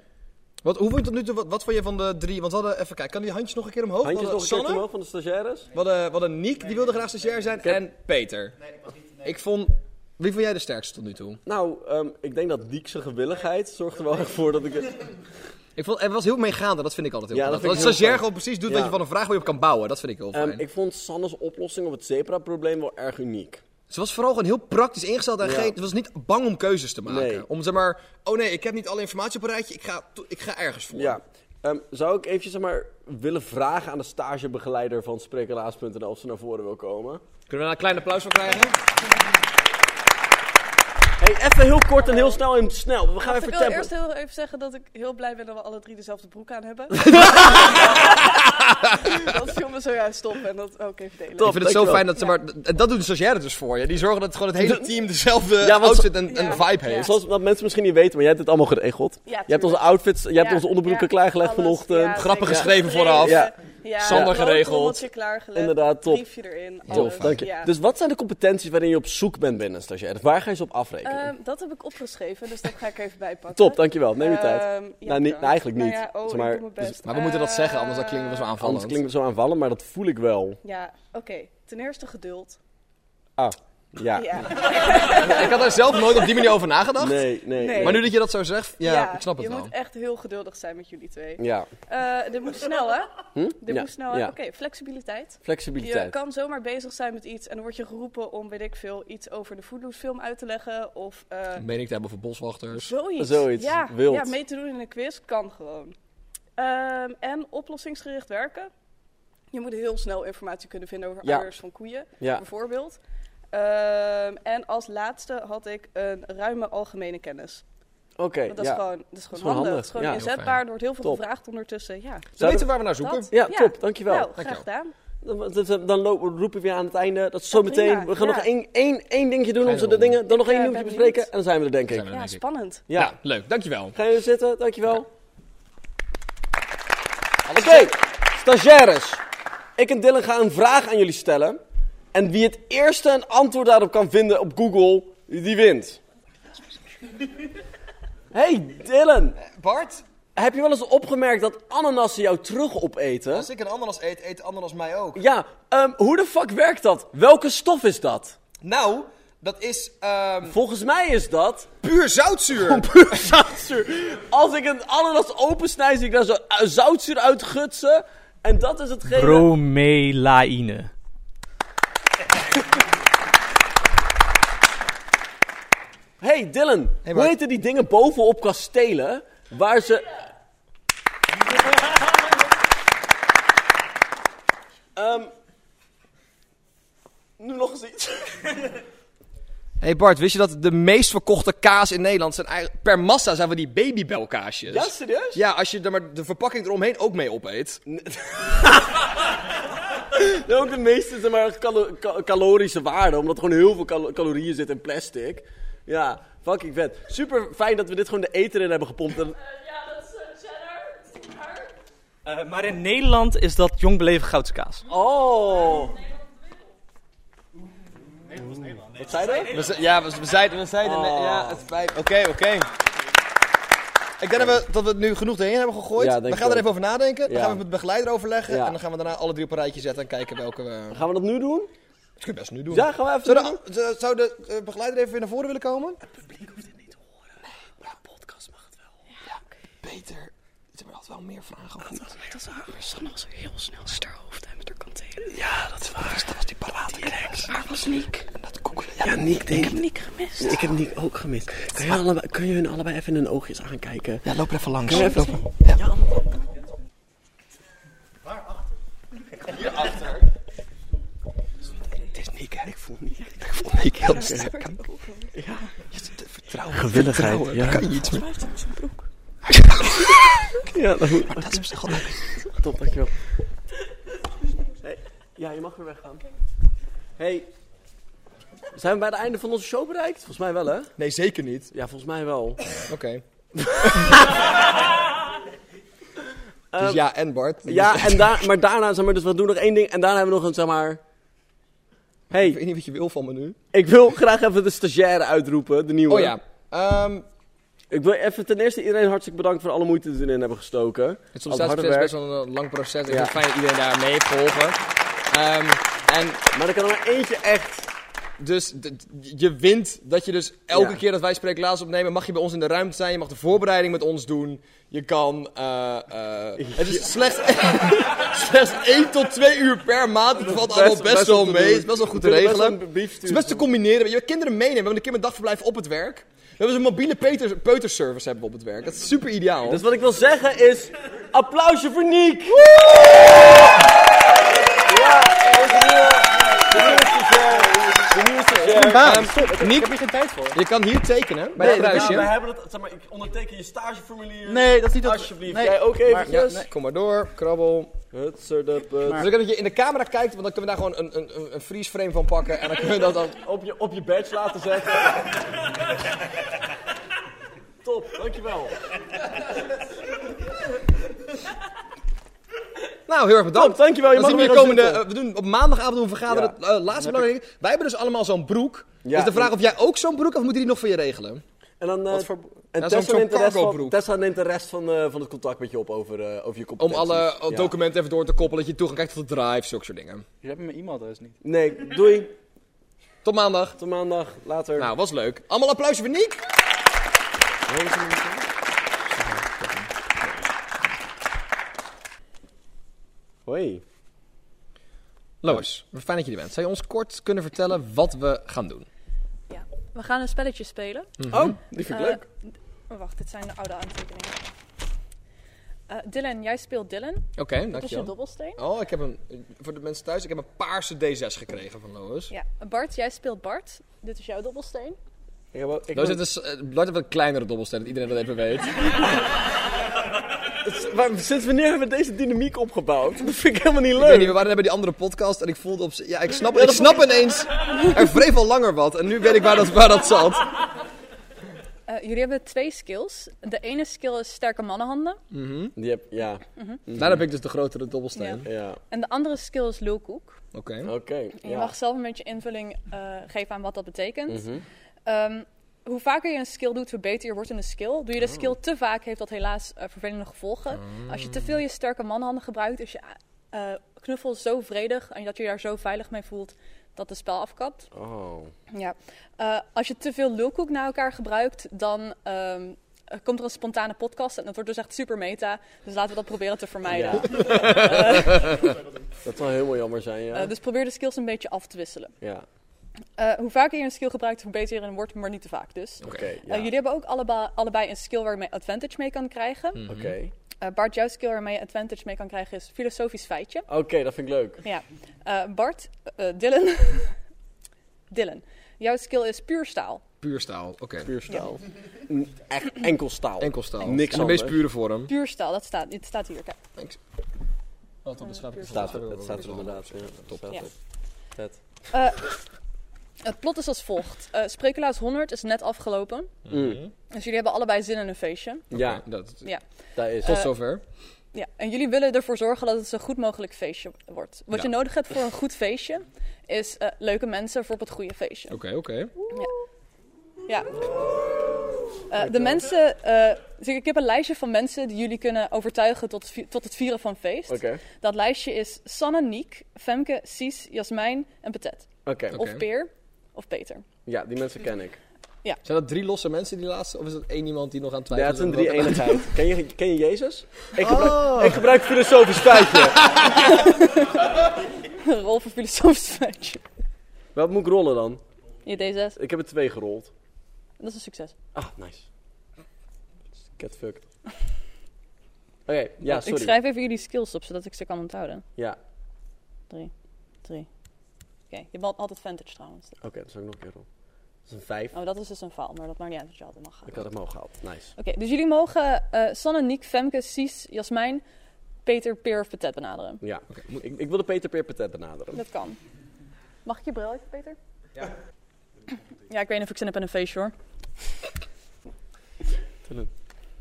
S4: Wat, hoe vond je tot nu toe, wat, wat vond je van de drie? Want we hadden, even kijken, kan die handjes nog een keer omhoog? We
S3: Handjes nog
S4: hadden
S3: een keertje
S4: Sanne,
S3: omhoog van de stagiaires?
S4: we hadden, we hadden Niek, die wilde graag stagiair zijn, en Peter. Nee, ik vond, wie vond jij de sterkste tot nu toe?
S3: Nou, ehm, ik denk dat Diekse gewilligheid zorgt er wel echt voor dat ik...
S4: Ik vond, het was heel meegaande, dat vind ik altijd heel
S3: Ja,
S4: fijn.
S3: dat
S4: Dat
S3: vind
S4: een
S3: ik heel
S4: stagiair
S3: fijn.
S4: gewoon precies doet
S3: Ja.
S4: wat je van een vraag waar je op kan bouwen, dat vind ik heel
S3: Ehm,
S4: fijn.
S3: ik vond Sanne's oplossing op het zebra-probleem wel erg uniek.
S4: Ze was vooral gewoon heel praktisch ingesteld en
S3: Ja.
S4: geen, ze was niet bang om keuzes te maken.
S3: Nee.
S4: Om zeg maar, oh nee, ik heb niet alle informatie op een rijtje, ik ga, to- ik ga ergens voor.
S3: Ja. Ehm, zou ik eventjes zeg maar, willen vragen aan de stagebegeleider van Sprekelaars.nl of ze naar voren wil komen?
S4: Kunnen we daar een klein applaus voor krijgen?
S3: Hey, even heel kort en heel snel en snel. We gaan
S16: ik
S3: even
S16: wil
S3: tempo.
S16: eerst heel even zeggen dat ik heel blij ben dat we alle drie dezelfde broek aan hebben. dat viel me zojuist op en dat ook even delen.
S4: ik vind het zo
S3: dankjewel.
S4: fijn dat ze maar... En dat doen de stagiaires dus voor je. Die zorgen dat gewoon het hele team dezelfde
S3: Ja, want ze-
S4: outfit en, en
S16: Ja.
S4: vibe heeft.
S3: Zoals wat mensen misschien niet weten, maar jij hebt dit allemaal geregeld.
S16: Ja,
S3: je hebt onze
S16: tuurlijk.
S3: outfits, je hebt
S16: Ja,
S3: onze onderbroeken
S16: ja,
S3: klaargelegd
S16: alles.
S3: vanochtend.
S16: Ja,
S4: Grappen
S16: zeker.
S4: geschreven vooraf.
S3: Ja.
S16: Ja,
S4: Sander
S16: rood
S4: geregeld.
S16: rommeltje klaargelegd.
S3: Inderdaad, top.
S16: Briefje erin.
S3: Tof,
S16: alles.
S3: dank je.
S16: Ja.
S3: Dus wat zijn de competenties waarin je op zoek bent binnen een stagiair? Waar ga je ze op afrekenen?
S16: Ehm, dat heb ik opgeschreven, dus dat ga ik er even bij pakken.
S3: Top, dankjewel. Neem je tijd.
S16: Ehm, ja,
S3: nou, niet, nou,
S16: bedankt.
S3: eigenlijk niet.
S16: Nou ja, oh,
S3: Zeg maar, dus-
S16: ik doe mijn best.
S4: Maar we moeten dat
S16: Eh,
S4: zeggen, anders dan klinken we zo aanvallend.
S3: anders klinkt het zo aanvallen, maar dat voel ik wel.
S16: Ja, oké. Ten eerste geduld.
S3: Ah,
S16: [LAUGHS]
S3: ja.
S16: Ja.
S4: Ik had daar zelf nooit op die manier over nagedacht.
S3: Nee, nee.
S16: Nee.
S4: Maar nu dat je dat zo zegt, ja,
S16: Ja,
S4: ik snap het
S16: je
S4: wel.
S16: moet echt heel geduldig zijn met jullie twee.
S3: Ja.
S16: Eh, dit moet snel, hè?
S3: Hm?
S16: Dit
S3: ja.
S16: moet snel, hè?
S3: ja.
S16: Oké, flexibiliteit. Je
S3: Flexibiliteit.
S16: kan zomaar bezig zijn met iets en dan word je geroepen om, weet ik veel, iets over de Foodloose film uit te leggen. Of eh,
S4: Een mening te hebben voor boswachters.
S16: zoiets.
S3: Zoiets,
S16: Ja,
S3: wild.
S16: ja, mee te doen in een quiz kan gewoon. Ehm, en oplossingsgericht werken. Je moet heel snel informatie kunnen vinden over
S3: Ja.
S16: ouders van koeien,
S3: Ja.
S16: bijvoorbeeld. Ehm, en als laatste had ik een ruime algemene kennis.
S3: Oké,
S16: Want dat,
S3: ja.
S16: is gewoon, dat is gewoon
S3: gewoon
S16: handig.
S3: handig,
S16: Het is gewoon
S3: ja.
S16: inzetbaar. Er wordt heel veel
S3: Top.
S16: gevraagd ondertussen. Ja,
S4: Ze
S3: Zouden
S4: weten waar we naar zoeken.
S16: dat.
S3: Ja, top, dankjewel.
S16: Nou, graag gedaan.
S3: Dan, dan- dan lopen, we- roepen we weer aan het einde. Dat is zo
S16: Ja, prima,
S3: meteen. We gaan
S16: ja.
S3: nog één, één, één dingetje doen, onze
S4: ronde.
S3: dingen. Dan nog één
S16: Ja,
S3: nieuwtje
S16: ben
S3: bespreken.
S16: benieuwd.
S3: En dan zijn we er, denk ik.
S4: we er.
S16: Ja,
S4: denk ik.
S16: spannend.
S3: Ja.
S4: Nou, leuk, dankjewel.
S3: Gaan jullie zitten? Dankjewel. Oké, stagiaires. Ik en Dylan gaan een vraag aan jullie stellen. En wie het eerste een antwoord daarop kan vinden op Google, die wint. Hey Dylan!
S4: Bart?
S3: Heb je wel eens opgemerkt dat ananassen jou terug opeten?
S4: Als ik een ananas eet, eet de ananas mij ook.
S3: Ja, ehm, hoe de fuck werkt dat? Welke stof is dat?
S4: Nou, dat is... ehm,
S3: Volgens mij is dat...
S4: Puur zoutzuur!
S3: puur zoutzuur! Als ik een ananas opensnij, zie ik daar zo eh, zoutzuur uitgutsen. En dat is hetgene...
S17: Bromelaïne.
S3: Hey Dylan, hoe heten die dingen bovenop kastelen waar ze... Ehm, nu nog eens iets.
S4: hey Bart, wist je dat de meest verkochte kaas in Nederland zijn eigenlijk... Per massa zijn we die babybelkaasjes.
S3: Ja, serieus?
S4: Ja, als je er maar de verpakking eromheen ook mee opeet.
S3: En ook de meeste zeg maar, calo- ca- calorische waarde, omdat er gewoon heel veel cal- calorieën zitten in plastic. Ja, fucking vet. Super fijn dat we dit gewoon de eten in hebben gepompt. En-
S12: Eh, Ja, dat is cheddar.
S17: Eh, maar in Nederland is dat jong beleven goudse kaas.
S3: Oh! Wat zei dat?
S4: We ze- ja, we, we zeiden... We zeiden
S3: Oh.
S4: Ja, het spijt me.
S18: Oké, oké.
S4: Ik denk dat we, dat we het nu genoeg erin hebben gegooid.
S3: Ja,
S4: we
S3: denk
S4: gaan
S3: ik
S4: er
S3: ook.
S4: even over nadenken. Dan
S3: Ja.
S4: gaan we met de begeleider overleggen.
S3: Ja.
S4: En dan gaan we daarna alle drie op een rijtje zetten en kijken welke we...
S3: Gaan we dat nu doen?
S4: Dat kun je best nu doen.
S3: Ja, gaan we even
S4: Zou
S3: nu
S4: de, z- zou de eh, begeleider even weer naar voren willen komen? Het publiek hoeft dit niet te horen. maar de podcast mag het wel. Ja, beter. Ze hebben altijd wel meer vragen. Dat was, dat was, Sanne was heel snel sterhoofd en met haar kantelen. Ja, dat is waar. dat was die parate keks. Maar was Niek. Dat koekelen.
S3: Ja, Niek, denk ik. heb Niek
S10: gemist.
S3: Ik heb Niek ook gemist. Kun je, allebei, kun je hun allebei even in hun oogjes aankijken?
S4: Ja, loop even langs.
S3: Kun je even...
S4: Hierachter.
S3: Het is Niek, hè? Ik voel Niek. Ik
S4: voel Niek heel sterk.
S3: sterk. Ja.
S4: Vertrouwen.
S3: Gewilligheid,
S4: vertrouwen,
S3: ja.
S4: daar kan je iets mee.
S3: Ja, dat moet...
S4: Maar dat is op zich al leuk.
S3: Top, dankjewel. Hey, ja, je mag weer weggaan. Hey, zijn we bij het einde van onze show bereikt? Volgens mij wel, hè?
S4: Nee, zeker niet.
S3: Ja, volgens mij wel.
S4: Oké. dus ja, en Bart. [LAUGHS]
S3: Ja, en daar, maar daarna, zeg maar, dus we doen nog één ding en daarna hebben we nog een, zeg maar... Hey,
S4: Ik weet niet wat je wil van me nu.
S3: ik wil graag even de stagiaire uitroepen, de nieuwe.
S4: Oh ja. Ehm,
S3: Ik wil even ten eerste iedereen hartstikke bedankt voor alle moeite die ze erin hebben gestoken.
S4: Het is
S3: Al
S4: soms zelfs
S3: harde
S4: best,
S3: werk.
S4: best wel een lang proces. Ik
S3: Ja.
S4: vind het fijn dat iedereen daar mee heeft geholpen. Ehm, en,
S3: maar er kan er maar eentje echt.
S4: Dus d- d- je wint dat je dus elke
S3: Ja.
S4: keer dat wij Spreeklaas opnemen, mag je bij ons in de ruimte zijn. Je mag de voorbereiding met ons doen. Je kan. eh, eh, het is slechts, [LAUGHS] slechts 1 tot 2 uur per maand. Het valt allemaal best, wel
S3: om te
S4: mee.
S3: doen.
S4: Het is best wel goed te
S3: Ik wil er best
S4: regelen.
S3: wel een brief
S4: Het is best te combineren. Weet Je we kinderen meenemen. We hebben een keer mijn dagverblijf op het werk. We hebben zo'n mobiele peuters- peuterservice hebben we op het werk. Dat is super ideaal.
S3: Dus wat ik wil zeggen is, applausje voor Niek! Ja, onze nieuwe, de nieuwe stagiaire. De nieuwe stagiaire.
S4: Baan.
S9: Ik
S4: Niek,
S9: heb hier geen tijd voor.
S4: je kan hier tekenen bij
S9: Nee,
S4: het
S9: dat-
S4: kruisje.
S9: ja, wij
S17: hebben dat, zeg maar, ik onderteken je stageformulier.
S9: Nee, dat is niet dat-
S17: Alsjeblieft.
S9: nee.
S3: Jij ook eventjes.
S4: Ja, nee, Kom maar door, krabbel.
S3: Hutserdeputs.
S4: Dus ik heb dat je in de camera kijkt, want dan kunnen we daar gewoon een, een, een- een freeze frame van pakken. En dan kunnen we dat dan...
S3: Op je, op je badge laten zetten. Top, dankjewel.
S4: [LAUGHS] Nou, heel erg bedankt.
S3: Top, dankjewel. Je
S4: Dan
S3: mag
S4: zien we,
S3: weer
S4: de
S3: gaan
S4: komende, eh,
S3: zitten.
S4: we doen op maandagavond doen we vergaderen.
S3: Ja.
S4: Het eh, laatste belangrijke ding. Wij hebben dus allemaal zo'n broek.
S3: Ja.
S4: dus de vraag of jij ook zo'n broek, of moeten die nog voor je regelen?
S3: En dan... eh, en
S4: Ja, zo'n-
S3: Tessa,
S4: zo'n
S3: neemt de rest van,
S4: cargo-broek.
S3: Tessa neemt de rest van, eh, van het contact met je op over, eh, over je
S4: Om
S3: competenties.
S4: alle eh,
S3: Ja.
S4: documenten even door te koppelen, dat je toegang krijgt tot de drive, zulke soort dingen.
S9: Je hebt mijn e-mailadres niet.
S3: Nee, doei.
S4: Tot maandag.
S3: Tot maandag. Later.
S4: Nou, was leuk. Allemaal applausje voor Niek.
S3: Hoi.
S4: Lois, fijn dat je er bent. Zou je ons kort kunnen vertellen wat we gaan doen?
S10: Ja. We gaan een spelletje spelen.
S4: Oh, die vind ik
S10: Eh,
S4: leuk.
S10: d- wacht, dit zijn de oude aantekeningen. Eh, Dylan, jij speelt Dylan.
S4: Oké,
S10: Dat is
S4: dankjewel.
S10: je dobbelsteen.
S4: Oh, ik heb een... Voor de mensen thuis, ik heb een paarse D6 gekregen van Lois.
S10: Ja. Bart, jij speelt Bart. Dit is jouw dobbelsteen.
S3: Ik heb, ook- ik
S4: Lois
S3: heb-
S4: heeft een, s- eh, Bart heeft een kleinere dobbelsteen, dat iedereen dat even
S3: [LAUGHS]
S4: weet.
S3: S- waar- sinds wanneer hebben we deze dynamiek opgebouwd? Dat vind ik helemaal niet
S4: Ik weet
S3: leuk.
S4: niet, we waren net bij die andere podcast en ik voelde op... z'n- Ja, ik snap,
S3: Ja,
S4: ik
S3: dat
S4: snap ineens... Er wreef al langer wat en nu weet ik waar dat, waar dat zat.
S10: Eh, jullie hebben twee skills. De ene skill is sterke mannenhanden.
S3: Die heb, ja.
S10: Mhm.
S4: Daar heb ik dus de grotere dobbelsteen.
S10: Ja.
S3: Ja.
S10: En de andere skill is lulkoek.
S4: Oké.
S3: Oké.
S10: En je mag zelf een beetje invulling eh, geven aan wat dat betekent.
S3: Mhm.
S10: Ehm, hoe vaker je een skill doet, hoe beter je wordt in de skill. Doe je
S3: Oh.
S10: de skill te vaak, heeft dat helaas eh, vervelende gevolgen. Als
S3: Oh.
S10: je te veel je sterke manhanden gebruikt, is je eh, knuffel zo vredig en dat je je daar zo veilig mee voelt dat het spel afkapt.
S3: Oh.
S10: Ja. Eh, als je te veel lulkoek na elkaar gebruikt, dan ehm, er komt er een spontane podcast. En dat wordt dus echt super meta. Dus laten we dat proberen te vermijden. Eh,
S3: dat zou helemaal jammer zijn, ja.
S10: eh, dus probeer de skills een beetje af te wisselen.
S3: Ja.
S10: Eh, hoe vaker je een skill gebruikt, hoe beter je erin wordt, maar niet te vaak dus.
S3: Oké,
S10: Eh,
S3: ja.
S10: jullie hebben ook alleba- allebei een skill waar je advantage mee kan krijgen.
S5: Mhm.
S3: Oké.
S10: Eh, Bart, jouw skill waarmee je advantage mee kan krijgen is filosofisch feitje.
S3: Oké, dat vind ik leuk.
S10: Ja. Eh, Bart, eh, eh, Dylan. [LAUGHS] Dylan, jouw skill is puur staal.
S13: Puur staal, oké.
S3: Puur staal. Mm, Echt enkel staal.
S13: Enkel staal.
S3: Niks
S13: In de meest
S3: anders.
S13: pure vorm.
S10: Puur staal, dat staat, dit staat hier. Kijk.
S13: Wat dan beschrijf ik
S10: Het
S3: staat er- het staat er inderdaad, ja.
S13: Top.
S10: Ja.
S3: Vet.
S10: Eh, het plot is als volgt. Eh Sprekelaars 100 is net afgelopen.
S13: Mhm.
S10: Dus jullie hebben allebei zin in een feestje.
S13: Ja, dat,
S10: Ja.
S13: Daar is.
S10: Eh,
S13: Tot zover.
S10: Ja, en jullie willen ervoor zorgen dat het zo goed mogelijk feestje wordt. Wat je
S13: Ja.
S10: nodig hebt voor een goed feestje is eh, leuke mensen voor op het goede feestje.
S13: Oké, oké.
S10: Ja. Eh, de mensen, eh, dus ik ik heb een lijstje van mensen die jullie kunnen overtuigen tot, het vi- tot het vieren van feest.
S3: Oké.
S10: Dat lijstje is Sanne, Niek, Femke, Sies, Jasmijn en Patet.
S3: Oké.
S10: Of Peer of Peter. [LAUGHS]
S3: Ja, die mensen ken ik.
S10: Ja.
S13: Zijn dat drie losse mensen die laatste? Of is dat één iemand die nog aan het
S3: Ja,
S13: twijfelen
S3: het is een
S13: is? [LAUGHS]
S3: drie-eenigheid. [LAUGHS] ken, je, ken je Jezus? Ik gebruik,
S13: Oh.
S3: ik gebruik filosofisch feitje.
S10: Rol voor filosofisch feitje.
S3: Wat moet ik rollen dan?
S10: Je D6,
S3: Ik heb er twee gerold.
S10: dat is een succes.
S3: Ah, nice. Get fucked. Oké, ja,
S10: Ik
S3: sorry.
S10: schrijf even jullie skills op, zodat ik ze kan onthouden.
S3: Ja,
S10: Drie, drie. Oké, je bent altijd vantage trouwens.
S3: oké, dan zal ik nog een keer rollen. Dat is een vijf.
S10: Oh, dat is dus een faal, maar dat maakt niet uit dat je altijd mag gaan.
S3: Ik had het mogen gehaald. Nice.
S10: Oké, dus jullie mogen eh Sanne, Niek, Femke, Sies, Jasmijn, Peter, Peer of Patet benaderen.
S3: Ja, ik, ik wilde Peter Peer Patet benaderen.
S10: Dat kan. Mag ik je bril even, Peter? Ja. Ja, ik weet niet of ik zin heb in een feestje hoor.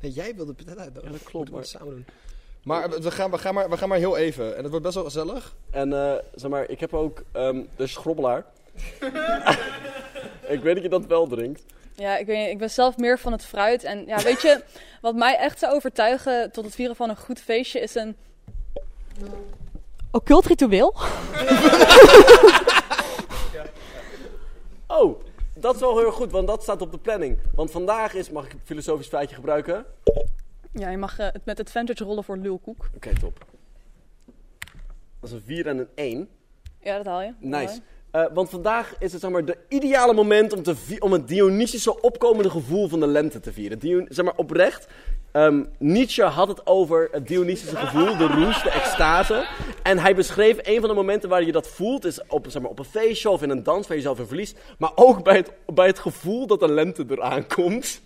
S13: Nee, jij wilde het net uitnodigen.
S3: Ja, dat
S13: Moeten
S3: klopt,
S13: we
S3: maar-
S13: het samen doen. Maar we- we gaan, we, gaan maar, we gaan maar heel even. En dat wordt best wel gezellig.
S3: En eh, zeg maar, ik heb ook ehm de schrobbelaar. ik weet dat je dat wel drinkt.
S10: Ja, ik, weet, niet, ik ben zelf meer van het fruit. En ja, weet je, [LAUGHS] wat mij echt zou overtuigen tot het vieren van een goed feestje is een occult ritueel.
S3: Oh, dat is wel heel erg goed, want dat staat op de planning. Want vandaag is, mag ik een filosofisch feitje gebruiken? Oké,
S10: Ja, je mag eh, het met advantage rollen voor lulkoek.
S3: top. Dat is een 4 en een 1.
S10: Ja, dat haal je.
S3: Nice. Eh, want vandaag is het zeg maar, de ideale moment om, te vi- om het Dionysische opkomende gevoel van de lente te vieren. Dion- zeg maar oprecht. ehm, Nietzsche had het over het Dionysische gevoel, de roes, de extase. En hij beschreef een van de momenten waar je dat voelt, is op, zeg maar, op een feestje of in een dans waar je jezelf in verliest. Maar ook bij het, bij het gevoel dat de lente eraan komt.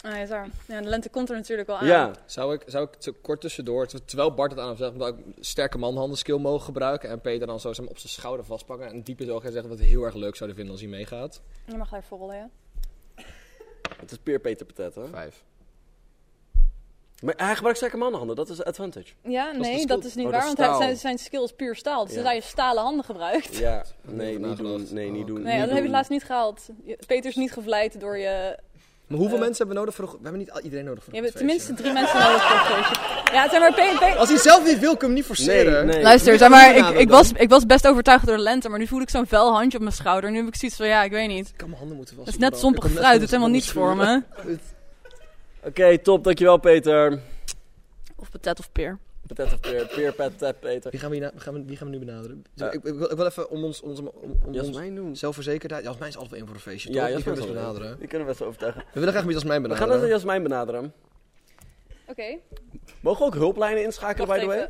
S10: Ah, ja, daar. Ja, de lente komt er natuurlijk wel aan.
S13: Zou ik, zou ik te kort tussendoor, ter- terwijl Bart het aan hem zegt, omdat ik sterke manhanden skill mogen gebruiken. En Peter dan zo zeg maar, op zijn schouder vastpakken. En diep in zijn ogen zeggen wat we heel erg leuk zouden vinden als hij meegaat.
S10: Je mag daarvoor rollen, ja.
S3: Het is Peer Peter Patet, hè?
S13: Vijf.
S3: Maar hij gebruikt sterke mannenhanden, dat is advantage.
S10: Ja,
S3: is de
S10: nee,
S3: stoel.
S10: dat is niet
S3: Oh, dat
S10: waar,
S3: is
S10: want hij,
S3: staal.
S10: zijn, zijn skill is puur staal. Dus
S3: Ja.
S10: zodra je stalen handen
S3: [LAUGHS]
S10: gebruikt.
S3: Ja, nee, niet doen. Nee, niet doen.
S10: Nee,
S3: niet
S10: dat heb je
S3: doen.
S10: laatst niet gehaald. Je- Peter is niet gevleid door je...
S13: Maar hoeveel
S10: Eh.
S13: mensen hebben we nodig voor een go- We hebben niet al- iedereen nodig voor
S10: Je
S13: een
S10: hebt
S13: goed
S10: tenminste drie mensen nodig voor een feestje. Ja, zeg maar, Pe- Pe-
S13: feestje. Als hij zelf niet wil, kun je hem niet forceren.
S10: Luister, zeg maar, ik,
S13: Dan.
S10: ik, was, ik was best overtuigd door de lente, maar nu voel ik zo'n vuil handje op mijn schouder. Nu heb ik zoiets van, ja, ik weet niet.
S13: kan mijn handen moeten
S10: Het is net zompig fruit, het is helemaal niets
S3: [LAUGHS]
S10: voor me.
S3: Oké, top, dankjewel Peter.
S10: Of patat of peer.
S3: Patet of Peer, Peer Patet Peter.
S13: Wie gaan we, hierna- gaan we, wie gaan we nu benaderen?
S3: Eh.
S13: ik, ik, wil, ik wil even om ons, ons, om, om
S3: Jasmijn
S13: ons zelfverzekerdheid. Jasmijn is altijd wel één voor een feestje. toch? Die kunnen we
S4: dus
S13: best benaderen.
S3: Die kunnen we best wel overtuigen.
S13: We willen graag met Jasmijn
S3: We
S13: benaderen.
S3: gaan dat Jasmijn benaderen.
S10: Oké,
S3: Mogen we ook hulplijnen inschakelen, by the way?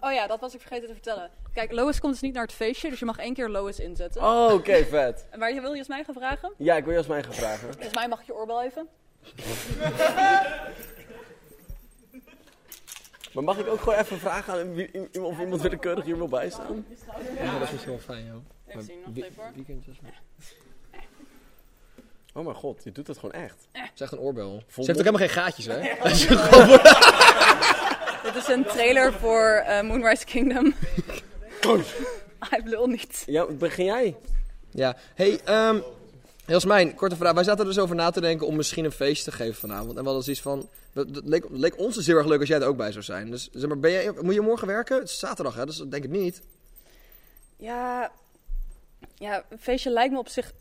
S10: Oh ja, dat was ik vergeten te vertellen. Kijk, Lois komt dus niet naar het feestje, dus je mag één keer Lois inzetten.
S3: Oh, oké, vet.
S10: Maar je wil Jasmijn gaan vragen?
S3: Ja, ik wil Jasmijn gaan vragen.
S10: Jasmijn, mag ik je oorbel even?
S3: Maar mag ik ook gewoon even vragen aan wie, i- of iemand willekeurig hier wil bijstaan?
S13: Ja, dat is misschien wel fijn, joh.
S10: Ik zie nog
S13: wie-
S10: even, hoor.
S13: weekend Jasmijn.
S3: Oh mijn god, je doet dat gewoon echt.
S13: Ze heeft echt een oorbel. Ze
S3: Volmond.
S13: heeft ook helemaal geen gaatjes, hè?
S10: Ja.
S13: Dat is gewoon-
S10: Dit is een trailer voor eh, Moonrise Kingdom.
S3: Oh.
S10: [LAUGHS] Hij lul niet.
S3: Ja, begin jij?
S13: Ja, hey, ehm,
S4: Jasmijn, korte vraag. Wij zaten er dus over na te denken om misschien een feest te geven vanavond. En we hadden zoiets van... dat- dat leek, leek ons dus heel erg leuk als jij er ook bij zou zijn. Dus zeg maar, ben jij, moet je morgen werken? Het is zaterdag, hè? Dus dat denk ik niet.
S10: Ja, ja een, feestje lijkt me op zich,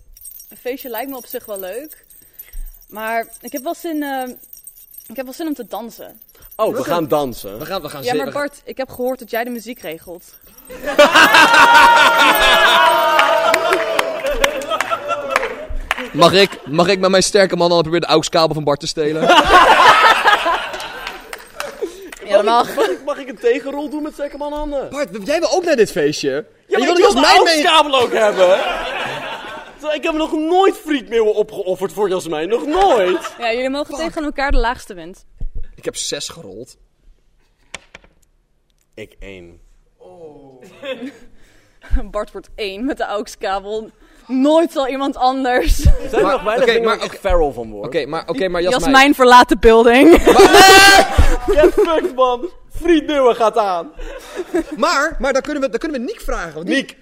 S10: een feestje lijkt me op zich wel leuk. Maar ik heb wel zin, eh, ik heb wel zin om te dansen.
S3: Oh, we gaan dansen.
S4: We gaan, we gaan
S10: Ja, maar Bart, ik heb gehoord dat jij de muziek regelt.
S4: Mag ik, mag ik met mijn sterke man al proberen de AUX-kabel van Bart te
S13: [LAUGHS]
S4: stelen?
S3: Helemaal. Mag, ik, mag ik een tegenrol doen met Zekerman handen?
S4: Bart, jij wil ook naar dit feestje.
S3: Ja,
S4: En je
S3: maar ik
S4: wilde
S3: wil
S4: Jasmijn
S3: de
S4: mee-
S3: kabel ook hebben. [LAUGHS] Terwijl Ik heb nog nooit frietmeeuwen opgeofferd voor Jasmijn. Nog nooit.
S10: [LAUGHS] Ja, jullie mogen tegen elkaar de laagste wind. [LAUGHS]
S4: Ik heb zes gerold.
S3: Ik één.
S10: Bart wordt één met de AUX-kabel. Nooit zal iemand anders.
S3: Zijn er nog weinig
S4: oké,
S3: dingen
S4: maar-
S3: waar echt feral van worden?
S4: Oké, maar, oké, maar Jasmijn...
S10: Jasmijn verlaat de building.
S3: Ja, fuck man. Frietmeeuwen gaat aan.
S4: Maar, maar dan kunnen we, dan kunnen we Nick vragen. Want Nick.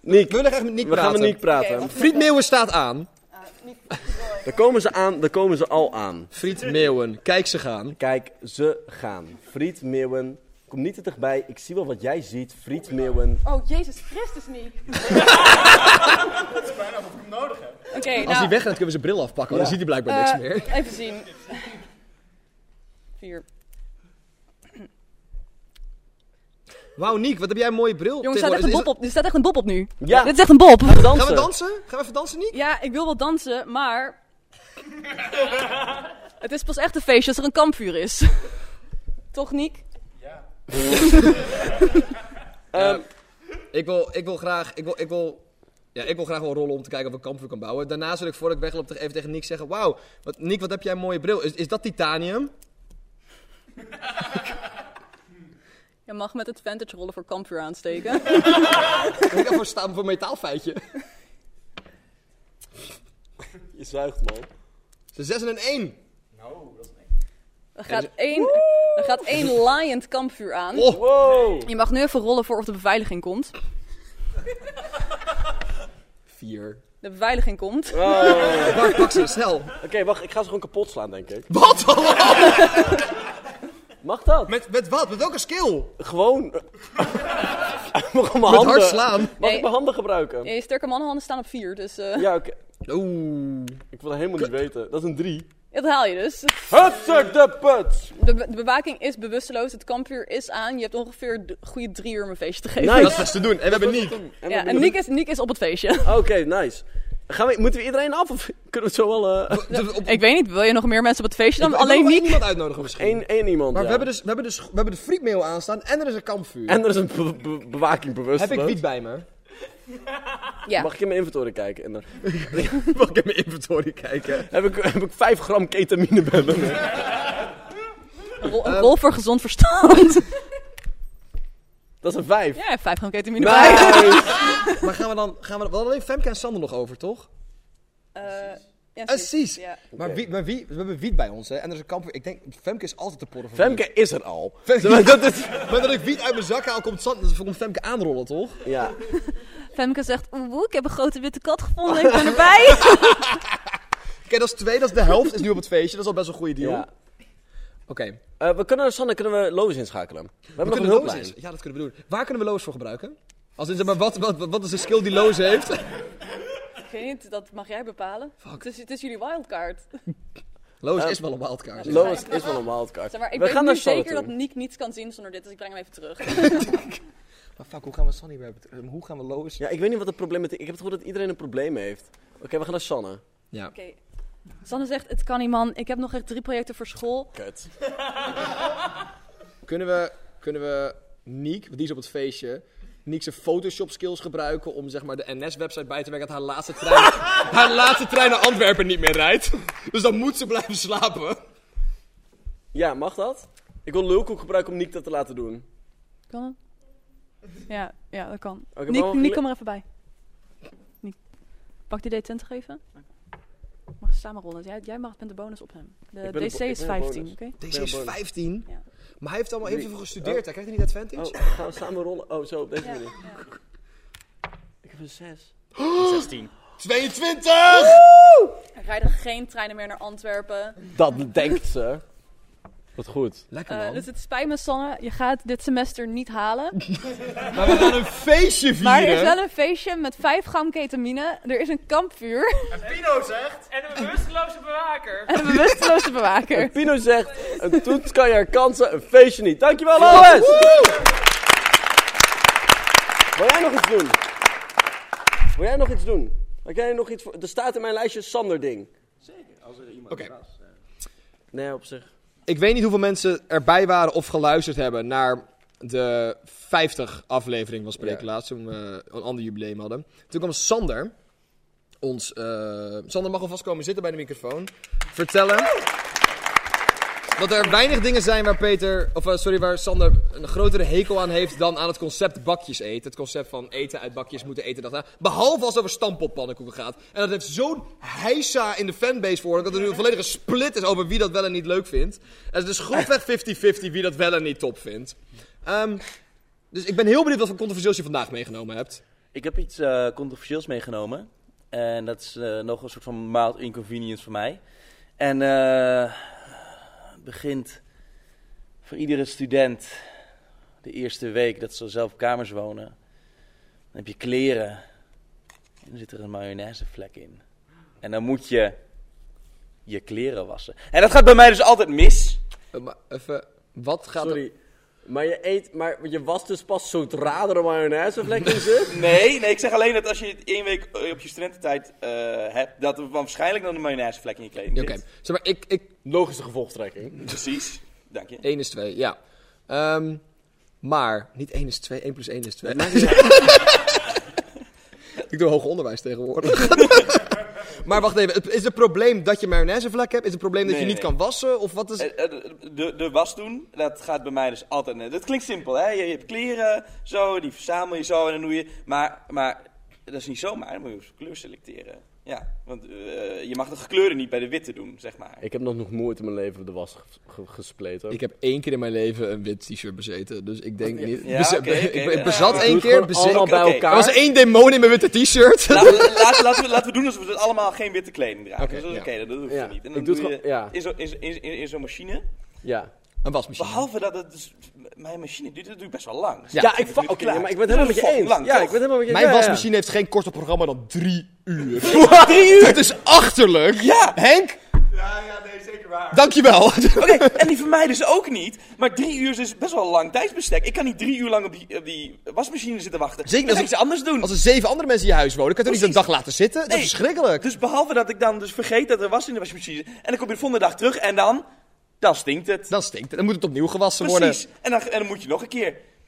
S3: Nick.
S4: We willen echt met Nick
S3: We gaan
S4: praten.
S3: met Nick praten. Oké,
S4: Fried
S3: wacht
S4: Meeuwen staat aan.
S3: Daar komen ze aan, daar komen ze al aan.
S4: Friet Meeuwen, kijk ze gaan.
S3: Kijk, ze gaan. Friet Meeuwen, kom niet te dichtbij. Ik zie wel wat jij ziet. Friet Meeuwen.
S10: [LAUGHS] Oh, Jezus Christus, Nick.
S18: Het is bijna of ik hem nodig heb.
S10: Oké,
S4: Als hij
S10: nou,
S4: weg gaat, kunnen we zijn bril afpakken. want Dan ziet hij blijkbaar niks
S10: eh,
S4: meer.
S10: Even zien. Vier.
S4: Wauw, Nick, wat heb jij een mooie bril
S10: Jongens, er staat echt
S4: tegenwoordig. Is
S10: een bob op. Er staat echt een bob op nu.
S3: Ja.
S10: Dit is echt een bob.
S4: dat- Gaan we dansen? Gaan we even dansen, Nick?
S10: Ja, ik wil wel dansen, maar... Het is pas echt een feestje als er een kampvuur is. Toch, Niek?
S4: Ehm, ik, wil, ik wil graag... Ik wil, ik wil, ja, ik wil graag wel rollen om te kijken of ik een kampvuur kan bouwen. Daarna wil ik, voordat ik wegloop, te- even tegen Nick zeggen... Wauw, wat, Nick, wat heb jij een mooie bril. Is, is dat titanium?
S10: Je mag met advantage rollen voor kampvuur aansteken.
S4: ik heb voor, sta- voor metaalfeitje.
S3: Je zuigt, man.
S4: Ze 6 en een 1.
S10: Er gaat één, er gaat één laaiend kampvuur aan.
S4: Oh.
S3: Wow.
S10: Je mag nu even rollen voor of de beveiliging komt.
S4: 4.
S10: De beveiliging komt.
S3: Oh.
S4: Bart, pak ze snel.
S3: Oké, wacht. Ik ga ze gewoon kapot slaan, denk ik.
S4: Wat?
S3: Mag dat?
S4: Met, met wat? Met welke skill?
S3: Gewoon. [LAUGHS] Mag ik mijn
S4: Met
S3: handen...
S4: hard slaan.
S3: Mag
S10: Nee.
S3: ik mijn handen gebruiken?
S10: Ja, je sterke mannenhanden staan op vier, dus eh,
S3: Ja, oké.
S4: Oeh.
S3: Ik wil dat helemaal niet weten. Dat is een drie.
S10: [LAUGHS] dat haal je dus.
S3: Hutsuk de put!
S10: De, be- de bewaking is bewusteloos, het kampvuur is aan. Je hebt ongeveer d- goede drie uur om een feestje te geven.
S3: Nice.
S4: Dat is best te doen. En we hebben Nick.
S10: Ja, en Niek is, Niek is op het feestje.
S3: Oké, nice. Gaan we, moeten we iedereen af of [LAUGHS] kunnen we het zo wel... eh
S10: Ik weet niet, wil je nog meer mensen op het feestje dan
S4: Ik wil
S10: alleen
S4: nog één
S10: Niek?
S4: iemand uitnodigen misschien.
S3: één, één iemand,
S4: Maar we
S3: ja.
S4: hebben dus, we hebben dus, we hebben de frietmeel aanstaan en er is een kampvuur.
S3: En er is een be- be- bewaking bewust.
S4: heb ik wiet bij me?
S10: Ja.
S3: Mag ik in mijn inventory kijken? En dan
S4: [LAUGHS] Mag ik in mijn inventory kijken?
S3: heb, ik, heb ik 5 gram ketamine bij me.
S10: Rol,
S3: Ehm.
S10: een rol voor gezond
S3: [LAUGHS]
S10: verstand.
S3: Dat is een 5.
S10: ja, vijf gram ketamine bij.
S3: Nice!
S4: Maar gaan we dan, gaan we, we hadden alleen Femke en Sander nog over, toch?
S10: Eh, ja,
S4: Precies.
S10: Ja.
S4: Maar, wie, maar wie, we hebben wiet bij ons, hè? En er is een kampvuur. Ik denk, Femke is altijd de porren van wiet.
S3: Femke is er al.
S4: Femke-
S3: Maar dat is...
S4: [LAUGHS] Maar dat ik wiet uit mijn zak haal, komt, Sand, komt Femke aanrollen, toch?
S3: Ja.
S10: Femke zegt, oeh, oeh, ik heb een grote witte kat
S3: [LAUGHS]
S10: gevonden, ik ben erbij.
S4: Oké, dat is twee, dat is de helft, is nu op het feestje. Dat is al best een goede deal.
S3: ja.
S4: Oké.
S3: Eh, we kunnen, Sanne, kunnen we Lois inschakelen? We hebben
S4: We
S3: nog een
S4: kunnen Loos
S3: hulplijn.
S4: eens. Ja, dat kunnen we doen. Waar kunnen we Loos voor gebruiken? Als in, zeg maar, wat, wat, wat is de skill die Loos heeft? [LAUGHS]
S10: ik weet niet, dat mag jij bepalen. Het is, het is jullie wildcard.
S4: Loos is wel een wildcard.
S3: Lois is wel een wildcard.
S10: Zeg maar, ik
S3: we
S10: weet
S3: gaan
S10: nu
S3: naar Sanne
S10: zeker dat
S3: toe.
S10: Niek niets kan zien zonder dit, dus ik breng hem even terug.
S4: Maar fuck, hoe gaan we Sunny weer bet- eh, Hoe gaan we Lois?
S3: Ja, ik weet niet wat het probleem met... Ik heb het gevoel dat iedereen een probleem heeft. Oké, we gaan naar Sanne.
S10: Oké. Sanne zegt, het kan niet man, ik heb nog echt drie projecten voor school.
S3: Kut.
S4: [LAUGHS] Kunnen we, kunnen we Niek, want die is op het feestje, Niek zijn Photoshop skills gebruiken om zeg maar de NS-website bij te werken dat haar laatste trein, [LAUGHS] haar laatste trein naar Antwerpen niet meer rijdt. Dus dan moet ze blijven slapen.
S3: Ja, mag dat? Ik wil lulkoek gebruiken om Nick dat te laten doen.
S10: Kan dat? Ja, ja, dat kan.
S3: Oké, maar
S10: Niek,
S3: mogen
S10: Niek,
S3: we-
S10: kom er even bij. Niek. Pak die D20 even. Mag samen rollen. Jij, jij mag, bent de bonus op hem. De
S3: ben de
S10: DC
S3: bo- ik
S10: is
S3: ben de
S10: 15, oké?
S3: bonus.
S4: Deze is 15,
S10: Ja.
S4: maar hij heeft allemaal
S3: Nee.
S4: even gestudeerd. Hij krijgt hij niet advantage?
S3: Oh, gaan we samen rollen? Oh, zo, op deze
S10: Ja,
S3: manier.
S10: ja.
S3: Ik heb een 6.
S6: 16.
S4: 22!
S10: Er rijden geen treinen meer naar Antwerpen.
S3: Dat
S11: [LAUGHS]
S3: denkt ze. Wat goed.
S10: Eh, dus het spijt me, Sanne, je gaat dit semester niet halen.
S4: Maar we gaan een feestje vieren.
S10: [LAUGHS] maar er is wel een feestje met 5 gram ketamine. Er is een kampvuur. [LAUGHS]
S19: Pino zegt... En een bewusteloze bewaker.
S10: En een bewusteloze bewaker.
S3: En Pino zegt, een toets kan je herkansen, een feestje niet. Dankjewel, Lois! Wil jij nog iets doen? Wil jij nog iets doen? Wil jij nog iets voor... Er staat in mijn lijstje Sander ding. Zeker, als er iemand was. eh. Nee, op zich.
S4: Ik weet niet hoeveel mensen erbij waren of geluisterd hebben naar de 50 aflevering van Spreeklaas, toen we een ander jubileum hadden. Toen kwam Sander, ons... eh, Sander mag alvast komen zitten bij de microfoon, vertellen dat er weinig dingen zijn waar Peter, of eh, sorry, waar Sander een grotere hekel aan heeft dan aan het concept bakjes eten. Het concept van eten uit bakjes moeten eten. Dat, behalve als het over stamppotpannenkoeken gaat. En dat heeft zo'n heisa in de fanbase voor dat er nu een volledige split is over wie dat wel en niet leuk vindt. En het is grofweg 50-50 wie dat wel en niet top vindt. Ehm, dus ik ben heel benieuwd wat voor controversieels je vandaag meegenomen hebt.
S11: Ik heb iets eh, controversieels meegenomen. En dat is eh, nog een soort van mild inconvenience voor mij. En eh, begint voor iedere student de eerste week dat ze zelf op kamers wonen. Dan heb je kleren. En dan zit er een mayonaisevlek in. En dan moet je je kleren wassen. En dat gaat bij mij dus altijd mis.
S4: Eh, maar even, wat gaat
S3: Sorry. Maar je eet, maar je was dus pas zodra er een mayonaisevlek in zit?
S11: Nee, nee, ik zeg alleen dat als je het één week eh, op je studententijd eh, hebt, dat er waarschijnlijk dan een mayonaisevlek in je kleding zit.
S4: Oké,
S6: [LAUGHS]
S4: zeg maar, ik, ik...
S3: Logische gevolgtrekking.
S11: Precies, dank je.
S4: 1 is 2, ja. Ehm, maar, niet 1 is 2, 1 plus 1 is 2. [LAUGHS] ik doe hoger onderwijs tegenwoordig. [LAUGHS] maar wacht even, het- is het probleem dat je mayonaisevlek hebt? Is het probleem dat
S11: Nee,
S4: je niet
S11: nee.
S4: kan wassen? Of wat is...
S11: Eh, eh, De, de, de was doen, dat gaat bij mij dus altijd. eh, Dat klinkt simpel, hè? Je, je hebt kleren, zo, die verzamel je zo en dan doe je. Maar, maar dat is niet zomaar, dan moet je op kleur selecteren. Ja, want eh, je mag de gekleurde niet bij de witte doen, zeg maar.
S3: Ik heb nog nog nooit in mijn leven op de was ge- ge- gespleten.
S4: Ik heb één keer in mijn leven een wit t-shirt bezeten, dus ik denk niet...
S3: Ja,
S4: Beze-
S3: oké,
S4: ik-
S3: oké.
S4: ik bezat
S3: Ja,
S4: één
S3: doe het
S4: keer,
S3: gewoon
S4: bezet...
S3: allemaal bij
S4: Oké.
S3: elkaar.
S4: Er was één demon in mijn witte t-shirt.
S3: Nou,
S11: Laten we, laten, laten we, laten we doen alsof we het allemaal geen witte kleding dragen.
S4: Oké,
S11: Dus dat is
S4: ja.
S11: oké, dat, dat hoeft
S4: Ja,
S11: niet. En
S4: ik
S11: dan
S4: doe
S11: doe,
S4: het
S11: je
S4: gewoon- ja.
S11: in zo'n in, zo- in, in, in zo'n machine.
S3: Ja.
S4: Een wasmachine.
S11: Behalve dat het dus- mijn machine duurt, dat duurt best wel lang.
S3: Ja, ik va- oké, ja, maar ik
S11: Dat
S3: ben het helemaal
S11: is
S3: met je
S11: fucking
S3: eens.
S11: lang,
S3: ja,
S11: toch?
S3: ik ben het helemaal met je
S4: Mijn
S3: ja, ja.
S4: wasmachine heeft geen korter programma dan drie uur.
S3: [LAUGHS] drie uur?
S4: Dat is achterlijk.
S11: Ja.
S4: Henk,
S20: Ja, ja, nee, zeker waar.
S4: dankjewel.
S11: Oké, en die van mij dus ook niet. Maar drie uur is dus best wel een lang tijdsbestek. Ik kan niet drie uur lang op die, op die wasmachine zitten wachten.
S4: Zeker
S11: Dan
S4: als
S11: ga
S4: er,
S11: ik ze anders doen.
S4: Als er zeven andere mensen in je huis wonen, kan je toch niet een dag laten zitten? Dat
S11: Nee.
S4: is verschrikkelijk.
S11: Dus behalve dat ik dan dus vergeet dat er was in de wasmachine. En dan kom je de volgende dag terug en dan... Dan stinkt het.
S4: Dan stinkt het. Dan moet het opnieuw gewassen
S11: Precies.
S4: worden.
S11: En dan, en dan moet je nog een keer.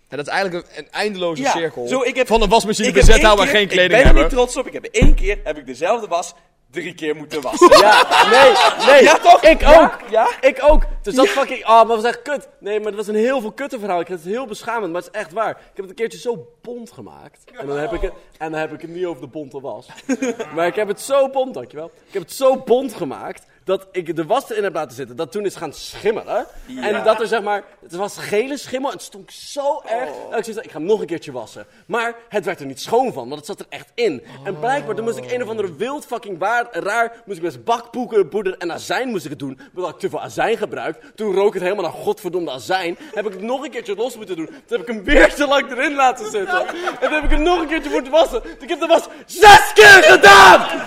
S4: En dat is eigenlijk een, een eindeloze
S11: Ja,
S4: cirkel.
S11: zo, ik heb-
S4: van een wasmachine
S11: ik heb
S4: bezet
S11: één
S4: houden
S11: keer-
S4: waar geen
S11: Ik ben
S4: kleding
S11: er
S4: hebben.
S11: niet trots op. Ik heb één keer heb ik dezelfde was drie keer moeten wassen.
S3: Ja, nee, nee.
S11: Ja, toch?
S3: Ik
S11: Ja,
S3: ook. Ik ook. Dus dat fucking... Ah, maar was echt kut. Nee, maar dat was een heel veel kutte verhaal. Ik vind het heel beschamend, maar het is echt waar. Ik heb het een keertje zo bont gemaakt. En dan heb ik het, en dan heb ik het niet over de bonte was. maar ik heb het zo bont, dankjewel. Ik heb het zo bont gemaakt dat ik de was erin heb laten zitten. Dat toen is gaan schimmelen. En dat er zeg maar... Het was gele schimmel en het stonk zo erg. Dat ik zoiets had, ik ga hem nog een keertje wassen. Maar het werd er niet schoon van, want het zat er echt in. En blijkbaar, toen moest ik een of andere wild fucking waar, raar... Moest ik best bakpoeken, boeder en azijn moest ik het doen. Omdat ik te veel azijn gebruikt. Toen rook het helemaal naar godverdomde azijn. Heb ik het nog een keertje los moeten doen. Toen heb ik hem weer te lang erin laten zitten. En toen heb ik hem nog een keertje moeten wassen. Dus ik heb de was zes keer gedaan!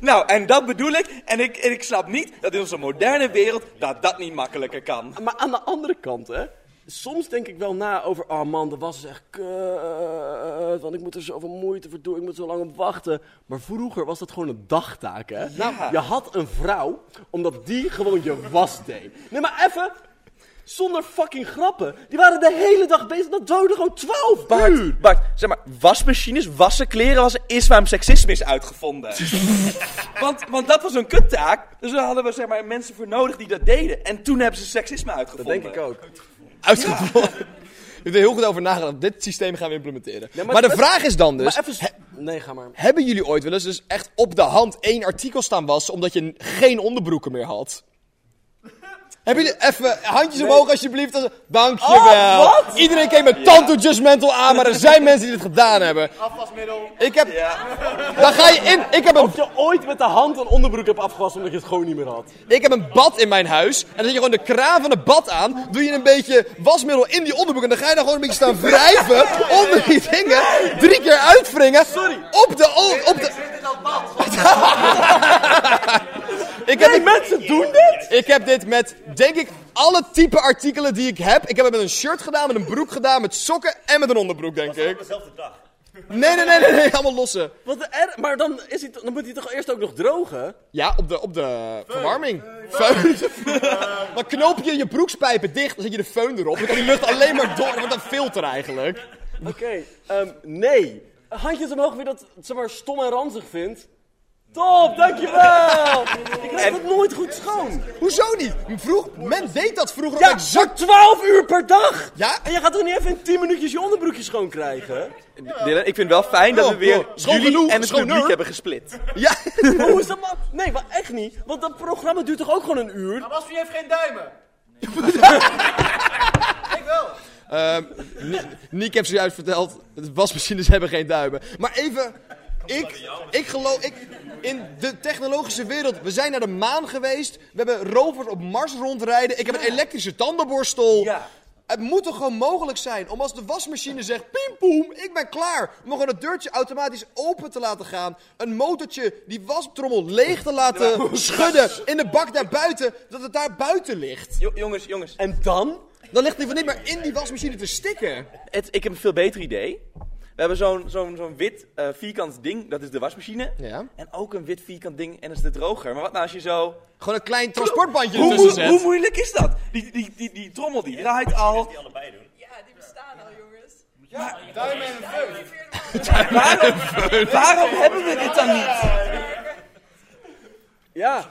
S11: Nou, en dat bedoel ik. En ik, en ik snap niet dat in onze moderne wereld dat dat niet makkelijker kan.
S3: Maar aan de andere kant, hè. Soms denk ik wel na over, oh man, de was is echt kut, want ik moet er zoveel moeite voor doen, ik moet zo lang op wachten. Maar vroeger was dat gewoon een dagtaak, hè? Nou,
S11: Ja.
S3: Je had een vrouw, omdat die gewoon je was deed. Nee, maar even, zonder fucking grappen. Die waren de hele dag bezig, dat duurde gewoon 12 uur.
S11: Bart, Bart, zeg maar, wasmachines, wassen, kleren wassen is waarom seksisme is uitgevonden. [LAUGHS] want, want dat was een kuttaak, dus daar hadden we zeg maar, mensen voor nodig die dat deden. En toen hebben ze seksisme uitgevonden.
S3: denk ik ook.
S4: Uitgevonden. [LAUGHS] Ik heb er heel goed over nagedacht. Dit systeem gaan we implementeren.
S3: Ja,
S4: maar, de
S3: het-
S4: vraag is dan dus...
S3: Maar even, s- nee, ga maar.
S4: Hebben jullie ooit wel eens dus echt op de hand één artikel staan was omdat je geen onderbroeken meer had? Hebben jullie even handjes omhoog alsjeblieft? Als- Dankjewel.
S21: Oh, wat?
S4: Iedereen keek met tanto just mental aan, maar er zijn mensen die dit gedaan hebben.
S9: Afwasmiddel.
S4: Ik heb... Dan ga je in. Ik heb een...
S3: Of je ooit met de hand een onderbroek hebt afgewassen omdat je het gewoon niet meer had.
S4: Ik heb een bad in mijn huis. En dan zet je gewoon de kraan van het bad aan. Doe je een beetje wasmiddel in die onderbroek. En dan ga je daar gewoon een beetje staan wrijven. Onder die dingen. Drie keer uitwringen. Sorry. Op de... o- Op de... [LAUGHS] Ik heb mensen doen dit? Ik heb dit met, denk ik, alle type artikelen die ik heb. Ik heb het met een shirt gedaan, met een broek gedaan, met sokken en met een onderbroek, denk ik.
S1: Dezelfde dag.
S4: Nee, nee, nee, nee, nee, allemaal losse.
S3: Wat de er- maar dan, is hij, dan moet hij toch eerst ook nog drogen?
S4: Ja, op de, op de verwarming. Feun. [LAUGHS] Dan knoop je je broekspijpen dicht, dan zet je de feun erop. Dan kan die lucht alleen maar door. Dat wordt een filter eigenlijk.
S3: Oké, ehm, nee. Handjes omhoog wie dat zeg maar, stom en ranzig vindt. Top, dankjewel! Ik krijg het nooit goed schoon.
S4: Hoezo niet? Vroeg, men deed dat vroeger
S3: ja, voor 12 uur per dag!
S4: Ja?
S3: En je gaat toch niet even in 10 minuutjes je onderbroekje schoon krijgen?
S11: Dylan, ik vind het wel fijn dat we
S3: Oh,
S11: weer
S3: oh, schoon
S11: jullie
S3: genoeg,
S11: en het
S3: schoon
S11: publiek
S3: hoor.
S11: hebben gesplit.
S4: Ja!
S3: Hoe is dat man? Nee, maar echt niet. Want dat programma duurt toch ook gewoon een uur?
S9: Maar Basfi heeft geen duimen. ik wel.
S4: Ehm, Ni- Niek heeft zojuist verteld, de wasmachines [LAUGHS] hebben geen duimen. Maar even, ik, ik geloof, ik, in de technologische wereld, we zijn naar de maan geweest. We hebben rovers op Mars rondrijden. Ik heb een elektrische tandenborstel. Het moet toch gewoon mogelijk zijn om als de wasmachine zegt, pim poem, ik ben klaar. Om gewoon het deurtje automatisch open te laten gaan. Een motortje die wastrommel leeg te laten schudden in de bak daarbuiten. Dat het daar buiten ligt.
S11: jongens, jongens.
S3: En dan?
S4: Dan ligt die van niet meer in die wasmachine te stikken.
S11: Het, ik heb een veel beter idee. We hebben zo'n zo'n zo'n wit eh, vierkant ding, dat is de wasmachine. En ook een wit vierkant ding en dat is de droger. Maar wat nou als je zo...
S4: Gewoon een klein transportbandje
S11: hoe,
S4: ertussen
S11: moe-
S4: zet.
S11: Hoe moeilijk is dat? Die, die, die, die trommel die draait al...
S22: Ja, die bestaan al, jongens.
S9: Ja, duimen en een feun.
S11: Waarom, waarom hebben we dit dan niet?
S3: Ja.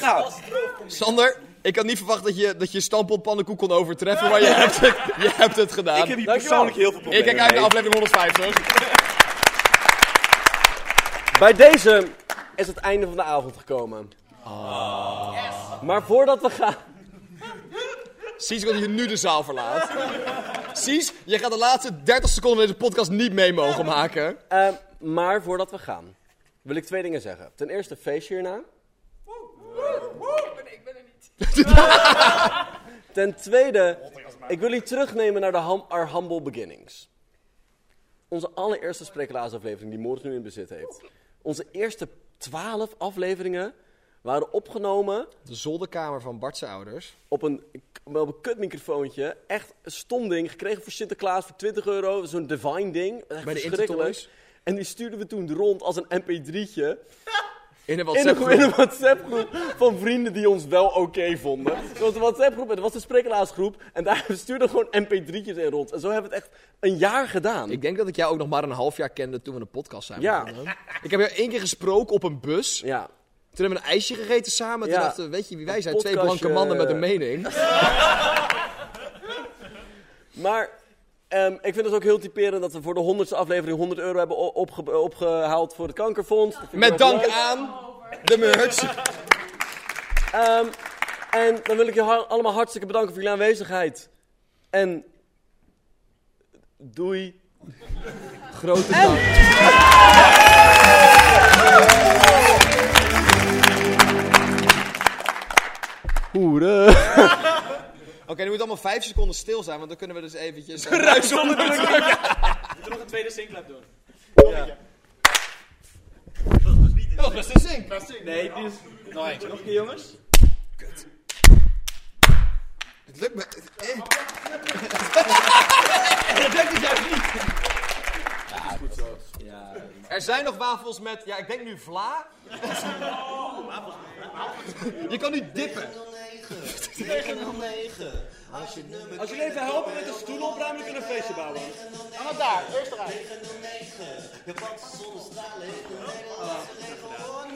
S11: Nou,
S4: Sander, ik had niet verwacht dat je, dat je stamppot pannenkoek kon overtreffen, maar je hebt het, je hebt het gedaan.
S11: Ik heb hier persoonlijk heel veel problemen
S4: Ik kijk uit naar
S11: mee.
S4: aflevering 150.
S3: Bij deze is het einde van de avond gekomen. Maar voordat we gaan...
S4: Cies, ik wil dat je nu de zaal verlaat. Cies, je gaat de laatste 30 seconden van deze podcast niet mee mogen maken.
S3: Ehm, maar voordat we gaan, wil ik twee dingen zeggen. Ten eerste, feest hierna. Ten tweede, ik wil jullie terugnemen naar de hum- Our Humble Beginnings. Onze allereerste sprekelaarsaflevering die Moritz nu in bezit heeft. Onze eerste twaalf afleveringen waren opgenomen...
S4: De zolderkamer van Bart's ouders.
S3: Op een, op een kutmicrofoontje. Echt een stom ding. Gekregen voor Sinterklaas voor 20 euro. Zo'n divine ding. Echt
S4: Bij de
S3: verschrikkelijk.
S4: Intertoys.
S3: En die stuurden we toen rond als een mp3'tje.
S4: In een
S3: In een,
S4: WhatsApp
S3: in een WhatsApp-groep van vrienden die ons wel oké vonden. Dat was een WhatsApp-groep en dat was de sprekelaarsgroep. En daar [LAUGHS] stuurden we gewoon mp3'tjes in rond. En zo hebben we het echt een jaar gedaan.
S4: Ik denk dat ik jou ook nog maar een half jaar kende toen we de podcast zijn
S3: Ja.
S4: begonnen. Ik heb jou één keer gesproken op een bus.
S3: Ja.
S4: Toen hebben we een ijsje gegeten samen. Toen
S3: Ja.
S4: dachten we, weet je wie wij
S3: Een
S4: zijn? Twee
S3: podcastje. eh,
S4: blanke mannen met een mening.
S3: Maar ehm, ik vind het ook heel typerend dat we voor de honderdste aflevering 100 euro hebben o- opge- opgehaald voor het kankerfonds. Dat vind ik
S4: Met
S3: heel erg
S4: dank
S3: leuk.
S4: aan de merch.
S3: Ehm, en dan wil ik je ha- allemaal hartstikke bedanken voor jullie aanwezigheid. En doei.
S4: Grote dank. Hoeren. Oké, nu moet allemaal vijf seconden stil zijn, want dan kunnen we dus
S6: [LAUGHS]
S4: eventjes...
S6: Ruis
S4: onder druk.
S6: Moet er nog een tweede synclap doen?
S4: Dat was de zink.
S6: Nee, die is... Nog eentje. Nog een keer, jongens.
S4: Het lukt me...
S6: [LAUGHS]
S4: eh.
S6: Dat denk ik juist niet.
S4: Er zijn nog wafels met, ja, ik denk nu
S6: [LAUGHS]
S4: vla. Je kan nu dippen.
S5: 909. Als je het nummer
S6: Als jullie even helpen met de stoelen opruimen, dan kunnen we een feestje bouwen.
S5: En wat daar? Eerst eruit. 909. Japanse zonnestralen heeft de Nederlandse regel voor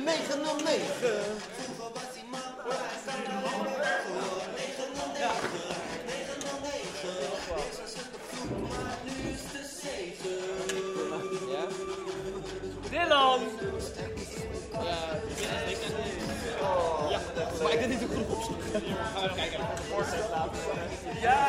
S5: 909. 909. Vroeger was die man, maar hij staat er allemaal voor. 909. 909. Eerst was het de vloek, maar nu is de zegen.
S6: Dylan!
S4: Maar ik weet niet hoe Gaan we even kijken.
S23: Ja!